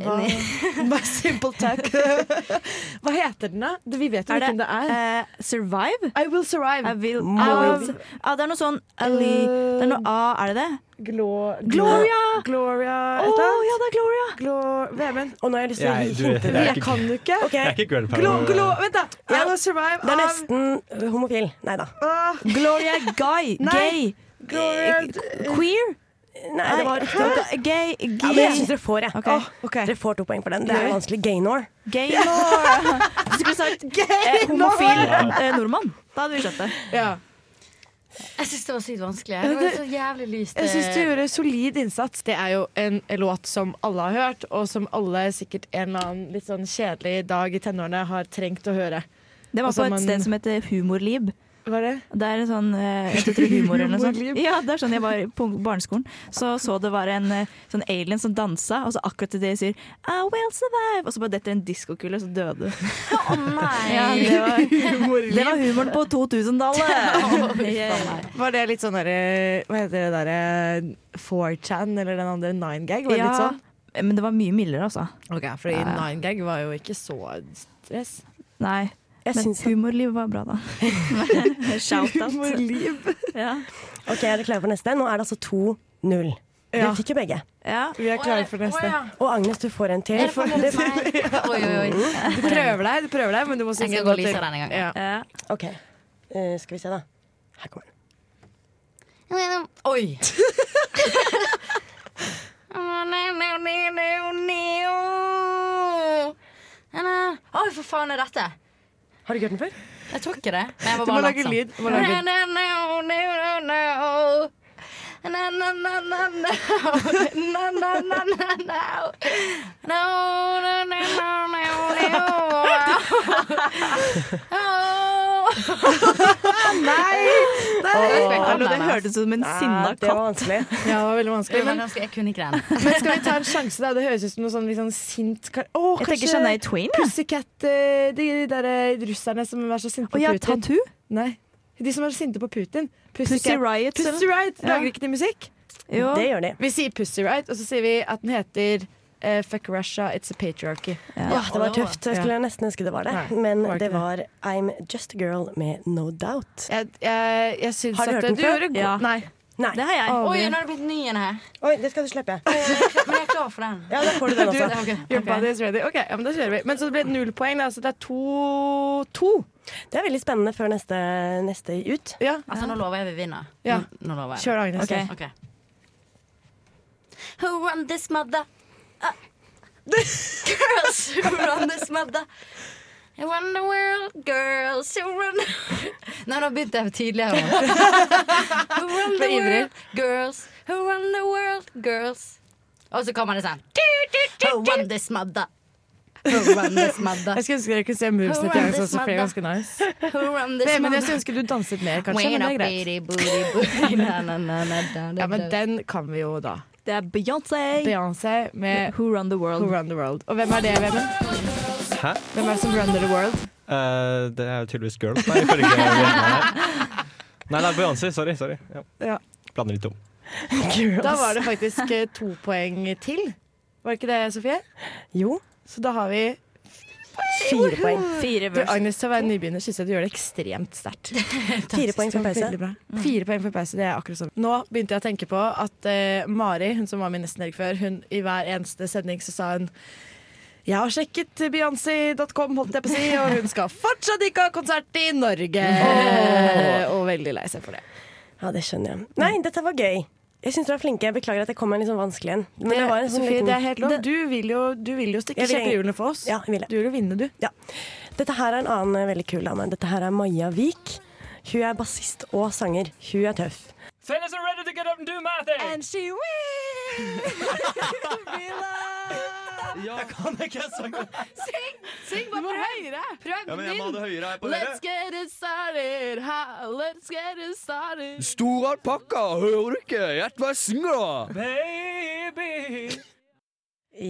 C: Hva, by simple tack. Hva heter den, da? Det- Vi vet jo
D: Er det,
C: hvilken det er.
D: eh, survive?
C: I will survive.
D: I will,
C: Av-
D: ah, det er noe sånn Ali, Det er noe A, er det det?
C: Glo-
D: Gloria! Å,
C: Gloria et eller annet.
D: ja, det er Gloria!
C: Glo- Vemund.
B: Og nå har jeg lyst til å
F: Jeg- du-
B: hinte
F: jeg er
B: dere.
F: ikke-
C: Kan du ikke?
F: Jeg er ikke girl power.
C: Glo, glo, vent, da! I will survive
B: Det er
C: av
B: nesten homofil. Nei da.
C: Ah,
D: Gloria Guy.
C: Nei.
D: Gay. Eh,
C: Gloria
D: Queer?
B: Nei, det var riktig.
D: Gay. gay.
B: Ja, men jeg syns dere får, jeg.
D: Ok.
C: Ah,
B: Dere får to poeng for den. Det er
D: Gjør vi?
B: vanskelig. Gaynor.
D: Gaynor. Du skulle sagt eh, homofil eh, nordmann. Da hadde vi skjønt det.
E: Jeg syns det var sykt vanskelig. Det var så jævlig lyst.
C: Jeg syns du gjorde solid innsats. Det er jo en låt som alle har hørt, og som alle sikkert en eller annen litt sånn kjedelig dag i tenårene har trengt å høre.
D: Det var
C: Og som
D: på et
C: man-
D: sted som heter Humorlib.
U: Hva er det?
D: Det er en sånn eh, Jeg tror humor eller noe sånt.
U: Humorlim.
D: Ja, det er sånn jeg var på barneskolen. Så så det var en eh, sånn alien som dansa, og så akkurat til det sier I will survive, og så bare detter en diskokule, og så døde du. Å nei! Ja, det, var, det var humoren på 2000-tallet!
C: Var det litt sånn derre Hva heter det derre 4chan eller den andre 9gag? Var det
D: Ja,
C: litt sånn?
D: men det var mye mildere, altså.
C: Ok, fordi
D: Ja, ja.
C: 9gag var jo ikke så stress.
D: Nei.
C: Jeg
D: men
C: syns det-
D: humorliv var bra, da. Shout-out.
C: Humorliv.
D: Ja.
B: Ok, er dere klare for neste? Nå er det altså 2-0. Dere
C: Ja.
B: fikk jo begge.
C: Vi er klare for neste.
B: Og Agnes, du får en til. Mm.
C: Jeg får mot meg. Oi, oi, oi. Du prøver deg, du prøver deg, men du må synge
B: skal
C: en
B: gå
C: låt
B: Lisa
C: til.
B: denne gangen.
C: Ja.
B: Ok, eh, skal vi se da. Her kommer den.
E: Oi! Oi, for faen er dette?
B: Har du ikke hørt den før?
E: Jeg tror ikke det. Men jeg var
B: Du må
E: bare
B: lage
E: latsom.
B: lyd, du må lage lyd.
E: Na, na, na, na, na. Na, na, na, na, na. Na, na, na, na, na. Na, na, na, na, na, na.
C: Nei!
D: Hallo, det hørtes ut som en sinna katt.
C: Det var vanskelig. Ja, det var veldig vanskelig.
E: Det var
C: Men,
E: ganske- Jeg kunne ikke den.
C: men skal vi ta en sjanse, da? Det høres ut som noe sånn litt sånn sint kar Å,
D: Jeg
C: kanskje
D: tenker Shania Twain, jeg.
C: Pussycat eh, De der eh, russerne som er så sinte på
D: Å ja,
C: Putin.
D: Tattoo?
C: Nei. De som er så sinte på Putin.
D: Pussy Riot,
C: Pussy
D: eller?
C: Riot.
D: Ja.
C: Lager ikke de musikk?
D: Jo. Det gjør de.
C: Vi sier Pussy Riot, og så sier vi at den heter eh, Fuck Russia, It's a Patriarchy.
B: Ja, det var tøft. Jeg skulle nesten ønske det var det.
C: Nei,
B: Men
C: var ikke
B: det
C: det.
B: var I'm Just a Girl med No Doubt.
C: Jeg, jeg syns
B: Har du
C: at
B: hørt den
C: du
B: før?
C: gjorde god
B: Ja.
C: Nei.
B: Nei.
E: Det har jeg.
C: Aldri.
E: Oi, nå er det blitt ny en her.
B: Oi, det skal du slippe.
E: Men jeg er klar for den.
B: Ja, da får du den også.
E: Ok,
C: Your
E: ok.
C: body is ready. Ok, ja, men da kjører vi. Men så det ble det null poeng, da, så det er to, to.
B: Det er veldig spennende før neste, neste ut.
E: Altså, nå lover jeg vi vinner.
B: Ja.
E: Nå- Nå lover jeg.
B: Kjør, Agnes.
E: Ok. Ok. Who run this mother? Uh, girls who run this mother. I run the world, girls who run Nei, nå begynte jeg tidligere. who run the
C: Ble ivrig.
E: world, girls who run the world, girls. Og så kommer det sånn. Who run this mother? Who run this mother?
C: Jeg skulle ønske dere kunne se
E: Who
C: movesene til
E: run
C: Agnes
E: this
C: også, for det
E: mother?
C: er ganske nice.
E: Who run this
C: Nei, men jeg
E: mother?
C: skulle ønske du danset mer, kanskje. Men det er greit. Ja, men
E: greit.
C: den kan vi jo da.
D: Det er Beyoncé.
C: Beyoncé med
D: Who Run The World.
C: Who Run The World. Og hvem er det, Vemund?
F: Hæ?
C: Hvem er det som runner the world?
F: Eh, det er jo tydeligvis girl. Nei, ifølge Rihanna. Nei, det er Beyoncé. Sorry. sorry. Ja.
C: Ja.
F: Blander litt om.
C: Da var det faktisk eh, to poeng til. Var det ikke det, Sofie?
B: Jo.
C: Så da har vi
B: Fire poeng.
D: Fire
C: du, Agnes, til å være nybegynner syns jeg du gjør det ekstremt sterkt.
B: Fire poeng for pause. Mm.
C: Veldig bra. Fire poeng for pause, det er akkurat sånn. Nå begynte jeg å tenke på at eh, Mari, hun som var min nesten helg før, hun i hver eneste sending så sa hun jeg har sjekket Beyoncé.com, holdt jeg på å si, og hun skal fortsatt ikke ha konsert i Norge! Og veldig lei seg for det.
B: Ja, det skjønner jeg. Nei,
C: Mm.
B: dette var gøy. Jeg syns dere er flinke. Jeg beklager at jeg kom med en litt sånn vanskelig en. Men det var en sånn
C: Sofie,
B: liten-
C: det er helt lov.
B: Det-
C: Du vil jo, du vil jo stikke
B: Jeg vil-
C: kjepper i hjulene for oss.
B: Ja, jeg vil det.
C: Du vil jo vinne, du.
B: Ja. Dette her er en annen eh, veldig kul dame. Dette her er Maja Vik. Hun er bassist og sanger. Hun er tøff.
O: Fellas are ready to get up and do my thing.
C: And she
F: Jeg kan ikke synge.
E: Syng! Syng bare prøv! Prøv
F: Ja, men jeg må ha det høyere her på
E: Let's
F: dere.
E: get it started, ha, let's get it started.
J: Store alpakka, hører du ikke? Gjett hva jeg synger, da!
O: Baby.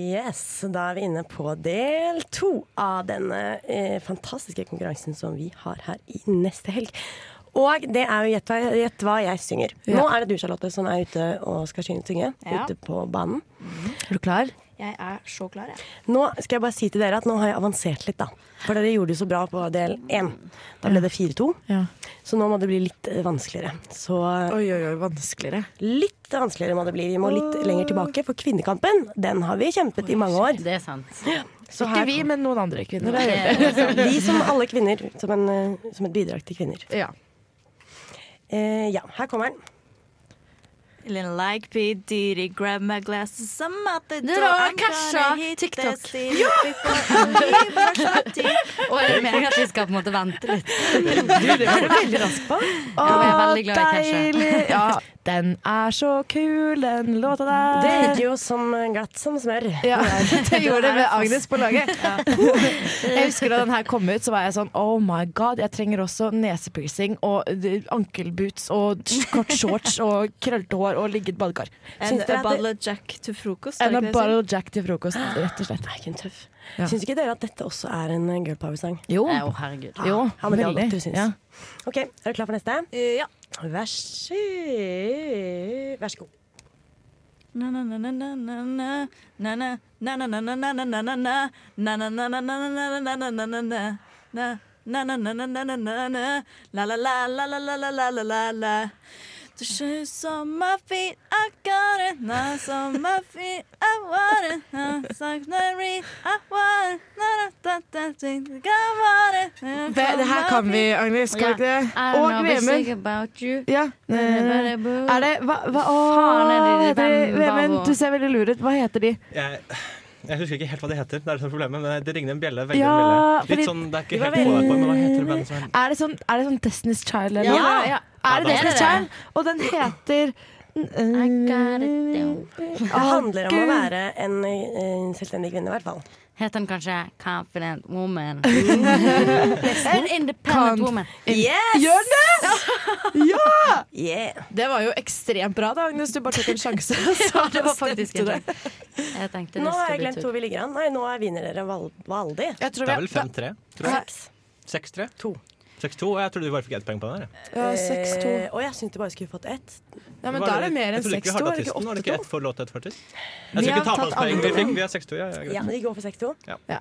B: Yes, da er vi inne på del to av denne eh, fantastiske konkurransen som vi har her i neste helg. Og det er jo Gjett hva, gjett hva jeg synger. Nå er det du, Charlotte, som er ute og skal synge. synge,
D: Ja.
B: Ute på banen.
D: Er du klar? Jeg er så klar, jeg.
B: Nå skal jeg bare si til dere at nå har jeg avansert litt, da. For dere gjorde det så bra på del én. Da ble det 4-2. Så nå må det bli litt eh, vanskeligere. Så eh,
C: Oi, oi, oi, vanskeligere.
B: litt vanskeligere må det bli. Vi må litt lenger tilbake, for Kvinnekampen den har vi kjempet i mange år.
E: Det er sant.
B: Så
C: ikke vi, men noen andre kvinner.
B: Det er helt sant. Vi som alle kvinner, som, en, eh, som et bidrag til kvinner.
C: Ja.
B: Eh, ja, her kommer den.
D: Little like P. Diddy, grab my glasses, I'm out the
E: Det
D: door.
E: var
D: I'm
E: Kesha,
D: gonna hit
E: TikTok.
D: the city before I leave my city.
E: Og er det meningen at vi skal på en måte vente litt?
C: Du, det var du veldig rask på.
E: Ja, men jeg er veldig glad i Kesha.
C: deilig! Ja, den er så kul, den låta der.
B: Det gikk jo som glatt som smør.
C: Ja, det gjorde det med Agnes på laget. Jeg husker da den her kom ut, så var jeg sånn Oh my god, jeg trenger også nesepiercing og eh, ankelboots og t- kort shorts og krøllete hår og ligget badekar.
D: And
C: Syns
D: a
C: dere at det-
D: bottle of Jack til frokost.
C: And
D: er
C: a
D: det ikke det
C: bottle of jack til frokost, rett og slett.
B: Nei, hun tøff.
C: Ja.
B: Syns ikke dere at dette også er en eh, girl power-sang?
C: Jo.
E: Nei, å, herregud.
B: Ah,
C: Jo,
B: ja, men det
C: veldig,
B: hadde du syns.
C: ja.
B: Ok, er du klar for neste?
D: Ja.
B: Vær så, Vær så god.
D: The shoes on my feet, I got it. Nice on my feet, I want it. Now it's like the re- I want it. Na, na, da, da, ding, ding, I want it. Now
C: Ve- Det her kan vi, Agnes. Skal vi ikke det? Og Vemund. Ja. Er det Hva, hva
E: Faen, er det de- hvem-
C: Åh, Vemund,
E: hva-
C: du ser veldig lur ut. Hva heter de?
F: Jeg, jeg husker ikke helt hva det heter, det er det som er problemet, men det ringer en bjelle. veldig
C: Ja,
F: en bjelle.
C: fordi-
F: Litt sånn, det er
C: de
F: ikke
C: var
F: helt pålagt på, men hva heter
C: veldig-
F: bandet som
C: Er det sånn, er det sånn Destiny's Child? eller
F: Ja.
C: noe?
F: Ja.
C: Er det
F: Ja, da er det
C: Destiny's Child? Og den heter
B: Det handler om å være en eh, selvstendig kvinne, i hvert fall.
E: Het den kanskje Confident Woman?
C: Nesten.
E: An independent woman.
B: Yes!
C: Gjør det! Ja!
B: Yeah.
C: Det var jo ekstremt bra, da, Agnes. Du bare tok en sjanse. Så
E: det var faktisk
C: stemte det.
E: Jeg tenkte
B: Nå
E: det
B: har
E: skulle
B: jeg
E: bli
B: glemt
E: tur.
B: hvor vi ligger an. Nei, nå er vinner dere Val Valdi.
F: Det er vel 5-3, tror jeg.
B: Seks.
F: 6-3?
B: To.
F: 6-2, og jeg trodde du bare fikk ett poeng på den her. jeg.
C: Ja, seks, to.
B: Eh, Å, jeg syntes du bare skulle fått ett.
C: Ja, men
F: Var
C: da er det mer
F: jeg
C: enn
F: trodde ikke vi
C: 6-2,
F: hadde
C: er det ikke
F: artisten, Var det
C: 8-2?
F: ikke ett for låt, ett for artist?
B: Vi
F: Jeg skal
B: har
F: ikke ta
B: tatt
F: på oss poeng.
B: alle
F: Vi, fikk,
B: poeng.
F: vi har 6-2, ja. ja, greit.
B: Ja, vi går for 6-2.
F: Ja.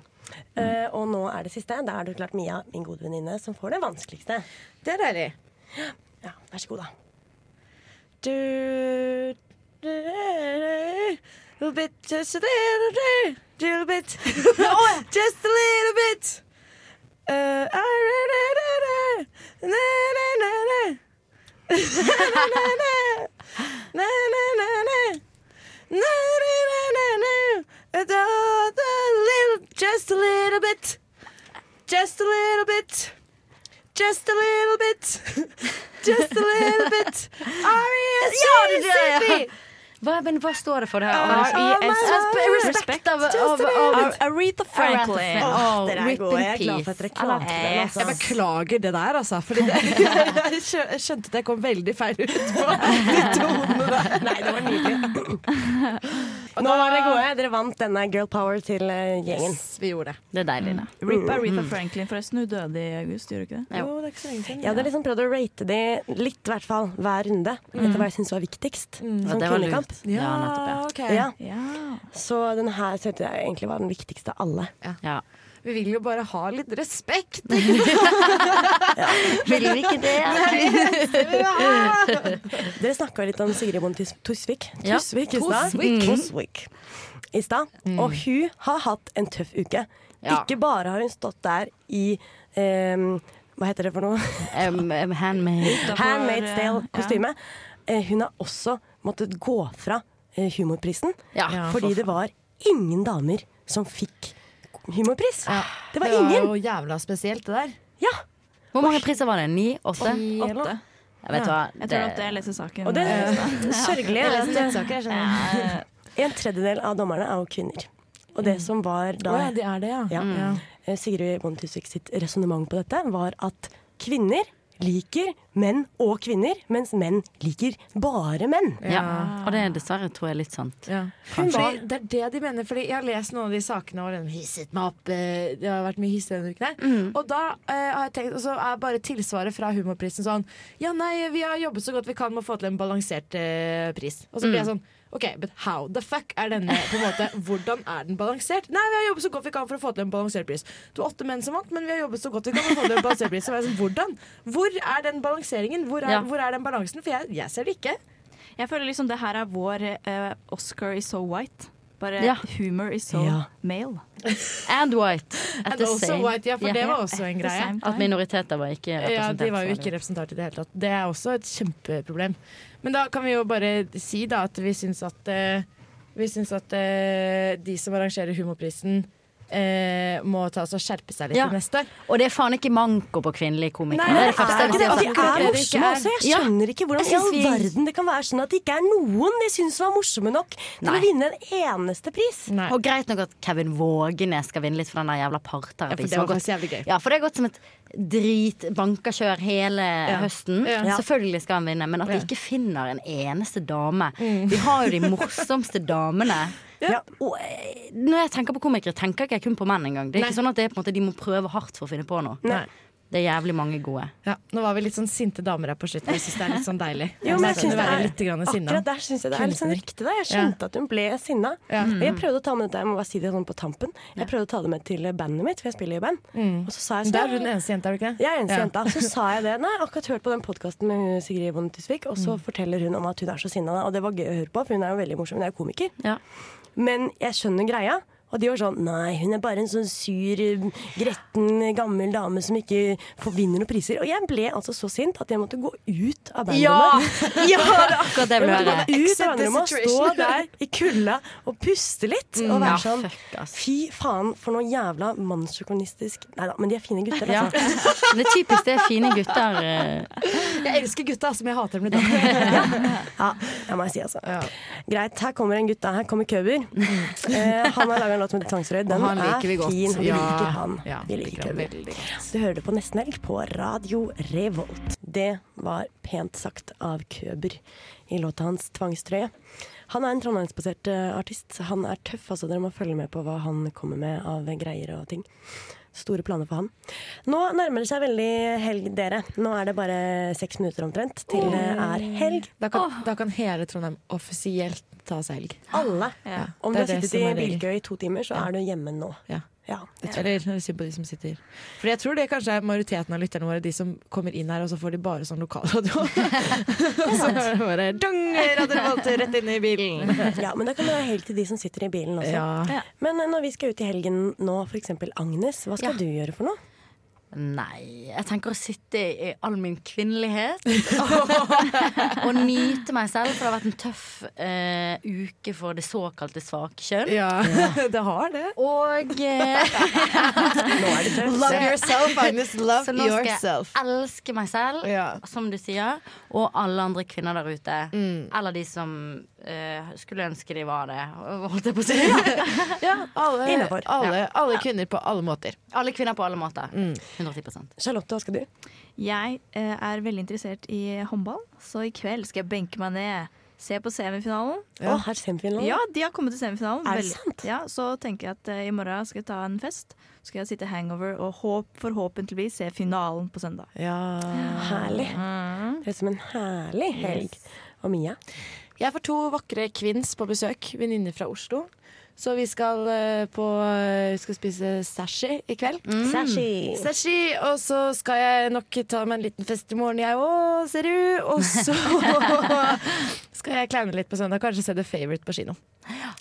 B: Eh, og nå er det siste. Da er det klart Mia, min gode venninne, som får det vanskeligste.
O: Det er deilig.
B: Ja, Vær så god, da.
O: Du, du, du, little bit, just a little bit, little bit. just a little bit. Uh, I, na, na, na, na, na, na, na, na. Na, na, na, na, na, na, na. Na, na, na, na, na. Uh, da, da, little- Just a little bit. Just a little bit. Just a little bit. Just a little bit.
E: Ja, det er det, ja.
O: R-E-S-P-C-P.
E: Hva, men hva står det for
C: Ah,
E: det her?
O: R-E-S-P.
E: Respekt av, av, av
D: Aretha Franklin.
E: Åh,
B: Dere er
E: rip
B: gode.
E: in
B: Jeg er glad for at dere
E: peace.
B: klarte den.
E: Eller-
B: Altså.
C: Jeg beklager det der, altså. Fordi det, jeg skjø- jeg skjønte at jeg kom veldig feil ut på de to hodene der.
B: Nei, det var nydelig. Nå var dere gode. Dere vant denne Girl Power til eh, gjengen.
C: vi gjorde det.
E: Det er deilig, da.
D: Rip Aretha Franklin, forresten. Hun døde i august, gjorde hun ikke det?
E: Jo.
C: det er ikke så lenge siden.
B: Jeg hadde liksom prøvd å rate de litt, i hvert fall, hver runde. Etter hva jeg syntes var viktigst.
E: Mm. Ja,
B: Som
E: det var lurt.
B: kvinnekamp.
E: Ja, nettopp,
C: ok.
B: Ja.
D: Ja.
B: Så den her syntes jeg egentlig var den viktigste av alle.
E: ja. ja.
C: Vi vil jo bare ha litt respekt.
E: Vil vi ikke det?
B: Dere snakka litt om Sigrid Bonde Tus- Tusvik
E: Ja.
B: Tusvik i stad.
E: Tusvik. Mm.
B: Tusvik. I stad. Og hun har hatt en tøff uke.
E: Ja.
B: Ikke bare har hun stått der i em, Hva heter det for noe?
E: Um, um, handmade.
B: Handmade
D: eh,
B: stale-kostyme. Eh, Hun har også måttet gå fra eh, humorprisen
E: Ja,
B: fordi
E: for
B: det var ingen damer som fikk humorpris. Det var
O: Det var
B: ingen!
O: jo jævla spesielt, det der.
B: Ja.
E: Hvor mange priser var det? Ni? Åtte?
O: Åtte.
E: Jeg vet hva.
D: Jeg tror nok det jeg leser saken.
B: Og det er sørgelig.
O: Jeg
B: er
O: leser
B: at-
O: nettsaker, jeg skjønner.
B: En tredjedel av dommerne er jo kvinner. Og det som var da
C: Å ja, det er det, ja.
B: Ja. Eh, Sigrid Bonde Tusvik sitt resonnement på dette var at kvinner liker menn og kvinner, mens menn liker bare menn.
E: Ja. Og det er dessverre tror jeg litt sant.
O: Hun var, det er det de mener, fordi jeg har lest noen av de sakene hvor de hisset meg opp. eh, Det har vært mye hisse denne uken her. Og da eh, har jeg tenkt, og så er bare tilsvaret fra Humorprisen sånn Ja, nei, vi har jobbet så godt vi kan med å få til en balansert eh, pris. Og så blir jeg sånn OK, but how the fuck er denne på en måte, Hvordan er den balansert? Nei, vi har jobbet så godt vi kan for å få til en balansert pris. Det var åtte menn som vant, men vi har jobbet så godt vi kan for å få til en balansert pris. Så var jeg sånn, hvordan? Hvor er den balanseringen? Hvor er,
E: Ja.
O: hvor er den balansen? For jeg, jeg ser det ikke.
D: Jeg føler liksom det her er vår eh, Oscar i So White. Bare
E: Ja.
D: humor is so
E: Ja.
D: male.
E: And white. At
C: And
E: the
C: also
E: same-
C: white, ja, for det var også
E: at
C: en
E: the
C: greie.
E: same time. At minoriteter var ikke
C: Ja,
E: representert.
C: de var jo ikke representert i det hele tatt. Det er også et kjempeproblem. Men da kan vi jo bare si da at vi syns at, eh, vi syns at eh, de som arrangerer Humorprisen eh, må ta oss og skjerpe seg litt
E: Ja.
C: til neste.
E: Og det er faen ikke manko på kvinnelige komikere.
C: Nei,
E: det er
C: det
E: det første
C: er
E: jeg
C: ikke det.
E: kan si.
C: Og de er
B: Det er
C: morsomme
B: morsomme også. Jeg
E: Ja.
B: skjønner ikke hvordan i
E: Jeg
B: all
E: synes vi-
B: verden det kan være sånn at det ikke er noen jeg syns var morsomme nok til å vinne en eneste pris.
E: Og greit nok at Kevin Vågenes skal vinne litt for den der jævla parterapi.
B: Ja, for det
E: som har
B: var
E: gått-
B: faktisk jævlig gøy.
E: Ja, for det har gått som et dritbankerkjør hele
B: Ja.
E: høsten.
B: Ja.
E: Selvfølgelig skal han vinne, men at de
B: Ja.
E: ikke finner en eneste dame.
B: Mm.
E: Vi har jo de morsomste damene.
B: Ja.
E: Og eh, når jeg tenker på komikere, tenker ikke jeg kun på menn engang. Det er
C: Nei.
E: ikke sånn at det er på en måte de må prøve hardt for å finne på noe.
C: Nei.
E: Det er jævlig mange gode.
C: Ja, nå var vi litt sånn sinte damer her på slutten. Jeg syns det er litt sånn deilig.
B: Jo, men jeg
C: Kunne
B: synes det
C: være
B: er,
C: litt grann sinna.
B: akkurat der syns jeg det er litt sånn
C: Kunstner.
B: riktig. Da. Jeg
C: Ja. Mm.
B: skjønte at hun ble sinna. Og jeg prøvde å ta med dette, jeg må bare si det sånn på tampen Jeg prøvde å ta det med til bandet mitt, for jeg spiller i band.
C: Mm.
B: Og så sa jeg sånn
C: Da er du den eneste jenta, er du ikke det?
B: Jeg er eneste
C: Ja.
B: jenta. Så sa jeg det. Nei, jeg har akkurat hørt på den podkasten med hun Sigrid Bonde Tusvik, og
E: Mm.
B: så forteller hun om at hun er så sinna. Og det var gøy å høre på, for hun er jo veldig morsom. Hun er jo komiker. Men jeg skjønner greia. Og de var sånn Nei, hun er bare en sånn sur, gretten gammel dame som ikke får vinner noen priser. Og jeg ble altså så sint at jeg måtte gå ut av bandet.
E: Ja! Ja, det er akkurat det jeg vil
B: måtte
E: høre.
B: gå ut av
E: Accept the
B: bandet og stå
E: situation.
B: der i kulda og puste litt.
E: Mm. Ja,
B: Og være sånn
E: fuck, ass.
B: Fy faen, for noe jævla mannssjåkonistisk Nei da, men de er fine gutter.
E: Ja.
B: Altså.
E: Men det er typisk det er fine gutter. eh,
C: Jeg elsker gutta, som jeg hater dem i dag.
B: Ja, det må jeg si, altså. Greit, her kommer en gutt. da. Her kommer Køber. Eh, han har laga en låt med Tvangsrøyd. Den
C: Og han liker vi
B: er
C: godt.
B: fin. Vi
C: Ja.
B: liker han.
C: Ja,
B: vi
C: liker
B: liker
C: han
B: Køber.
C: veldig
B: Du hører det på Nesten Helg på Radio Revolt. Det var pent sagt av Køber i låta hans 'Tvangstrøye'. Han er en trondheimsbasert eh, artist. Han er tøff, altså. Dere må følge med på hva han kommer med av greier og ting. Store planer for han. Nå nærmer det seg veldig helg, dere. Nå er det bare seks minutter omtrent til det er helg.
C: Da kan, da kan hele Trondheim offisielt ta seg helg.
B: Alle.
C: Ja.
B: Om du
C: Det
B: har
C: er
B: sittet
C: det som
B: i
C: er regel.
B: Bilkø i to timer, så er du hjemme nå.
C: Ja.
B: Ja.
C: Eller synd på de som sitter For jeg tror det kanskje er majoriteten av lytterne våre, de som kommer inn her, og så får de bare sånn lokalradio. og så hører de bare dong, Radio Revolt rett inn i bilen.
B: ja, men da kan det være helt til de som sitter i bilen også.
C: Ja. Ja.
B: Men eh, når vi skal ut i helgen nå, f.eks. Agnes, hva skal du gjøre for noe?
E: Nei, jeg tenker å sitte i all min kvinnelighet og nyte meg selv, for det har vært en tøff eh, uke for det såkalte svake kjønn.
C: Ja, det har det.
E: Og eh,
C: Love yourself, Agnes. Love
E: Så nå skal
C: yourself.
E: jeg elske meg selv, som du sier, og alle andre kvinner der ute.
C: Mm.
E: Eller de som eh, skulle ønske de var det, holdt jeg på å si.
C: Ja, alle,
E: Innenfor.
C: alle,
E: Ja.
C: alle kvinner på alle måter. Mm.
E: Alle kvinner på alle måter. 110
B: Charlotte, hva skal du?
D: Jeg eh, er veldig interessert i håndball, så i kveld skal jeg benke meg ned. Se på semifinalen.
B: Å, her er semifinalen.
D: Ja, de har kommet til semifinalen.
B: Er det
D: Veldig- Ja, så tenker jeg at eh, i morgen skal jeg ta en fest. Så skal jeg sitte hangover og håp, forhåpentligvis se finalen på søndag. Mm.
B: Herlig. Det er som en herlig helg. Og Mia?
C: Jeg får to vakre kvinns på besøk, venninner fra Oslo. Så vi skal, eh, på, vi skal spise sashi i kveld.
B: Mm. Sashi.
C: Sashi, Og så skal jeg nok ta meg en liten fest i morgen, jeg òg, ser du. Og så skal jeg kleine litt på søndag. Kanskje se The Favourite på kino.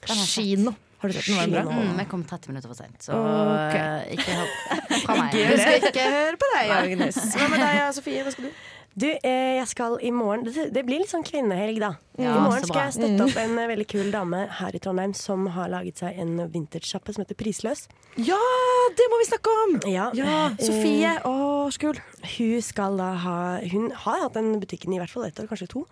C: Kino. Har du sett den? Var den bra?
E: Mm, jeg kom 30 minutter for sent, så
C: Ok.
E: eh, ikke hør fra meg.
C: Ikke Husk å ikke høre på deg, Agnes. Hva med deg, Sofie? Hva skal du?
B: Du, eh, jeg skal i morgen Det, det blir litt sånn kvinnehelg, da.
C: Ja,
B: I morgen
C: så
B: skal
C: bra.
B: jeg støtte opp en eh, veldig kul dame her i Trondheim som har laget seg en vintage-sjappe som heter Prisløs.
C: Ja, det må vi snakke om!
B: Ja, Eh,
C: Ja, Sofie.
B: Å, så kul. Hun skal da ha Hun har hatt den butikken i hvert fall ett år, kanskje to.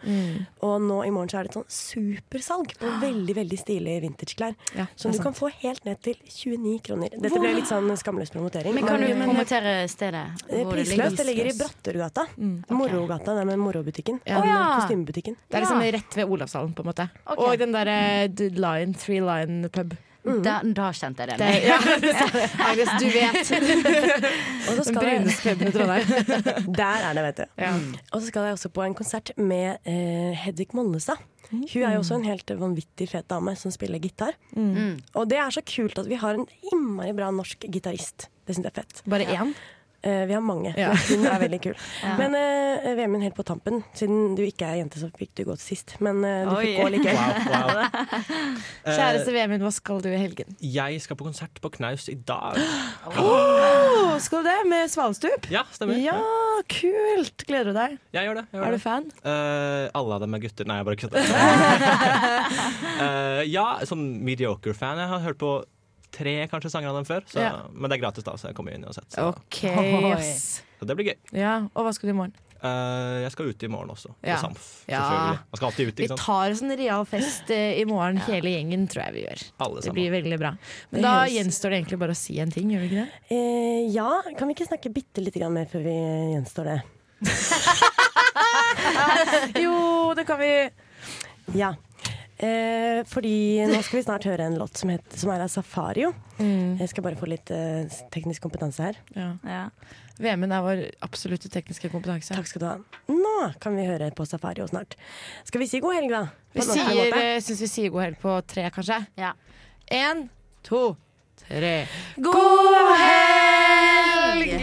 B: Og nå i morgen så er det et sånn supersalg på veldig veldig stilige vintageklær. som du
E: sant.
B: kan få helt ned til 29 kroner. Dette ble litt sånn skamløs promotering.
E: Men kan du
B: Men,
E: promotere stedet?
B: eh,
E: hvor
B: Prisløs. Det ligger i
E: Prisløs.
B: Brattergata. Morogata, det er med morobutikken.
C: Mm, Ja.
B: Den
C: Å, ja.
B: Kostymebutikken.
C: Det er liksom rett ved Olavshallen, på en måte.
B: Ok.
C: Og den derre
O: eh,
C: Line, Three Line pub.
E: Da, da kjente jeg det.
C: Det, ja, Agnes, du vet.
B: Og så skal
C: Den bruneste puben i Trondheim.
B: Der er det, vet du. Og så skal jeg også på en konsert med eh, Hedvig Mollestad.
C: Mm.
B: Hun er jo også en helt vanvittig fet dame som spiller gitar.
E: Mm.
B: Og det er så kult at vi har en innmari bra norsk gitarist. Det syns jeg er fett.
C: Bare én?
B: Eh, vi har mange.
C: Ja.
B: men Hun er veldig kul.
C: Ja.
B: Men eh, Vemund, helt på tampen, siden du ikke er jente, så fikk du gå til sist. Men eh, du
C: Oi.
B: fikk gå likevel.
F: Wow, wow.
C: Kjæreste Vemund, hva skal du i helgen?
F: Eh, Jeg skal på konsert på Knaus i dag.
C: Åh, skal du det? Med Svalstup?
F: Ja, stemmer.
C: Ja, kult! Gleder du deg?
F: Jeg gjør det. Jeg gjør
C: Er du
F: det.
C: fan?
F: Eh, alle av dem er gutter. Nei, jeg bare kødder. Eh, ja, sånn mediocre fan. Jeg har hørt på tre kanskje sanger av dem før, så,
C: Ja.
F: men det er gratis, da, så jeg kommer inn uansett. Så,
C: OK,
F: Oi.
C: ass.
F: så det blir gøy.
C: Ja, og hva skal du i morgen?
F: Eh, jeg skal ut i morgen også,
C: Ja.
F: på Samf.
C: Ja.
F: Selvfølgelig. Man skal alltid ut,
O: Vi
F: ikke sant?
O: tar oss en real fest eh, i morgen, hele gjengen, tror jeg vi gjør.
F: Alle
O: Det
F: sammen.
O: blir veldig bra. Men
B: Det
O: da
B: høres-
O: gjenstår det egentlig bare å si en ting, gjør det ikke det?
B: Eh, ja, kan vi ikke snakke bitte lite grann mer før vi gjenstår det?
O: jo, det kan vi.
B: Ja. Eh, fordi nå skal vi snart høre en låt som, heter, som er av Safario. Jeg skal bare få litt eh, teknisk kompetanse her.
O: Mm. Ja. Vemund er vår absolutte tekniske kompetanse.
B: Takk skal du ha. Nå kan vi høre på Safario snart. Skal vi si god helg, da?
O: Vi sier, eh, syns vi sier god helg på tre, kanskje?
E: Ja.
O: En, to, tre.
E: God helg!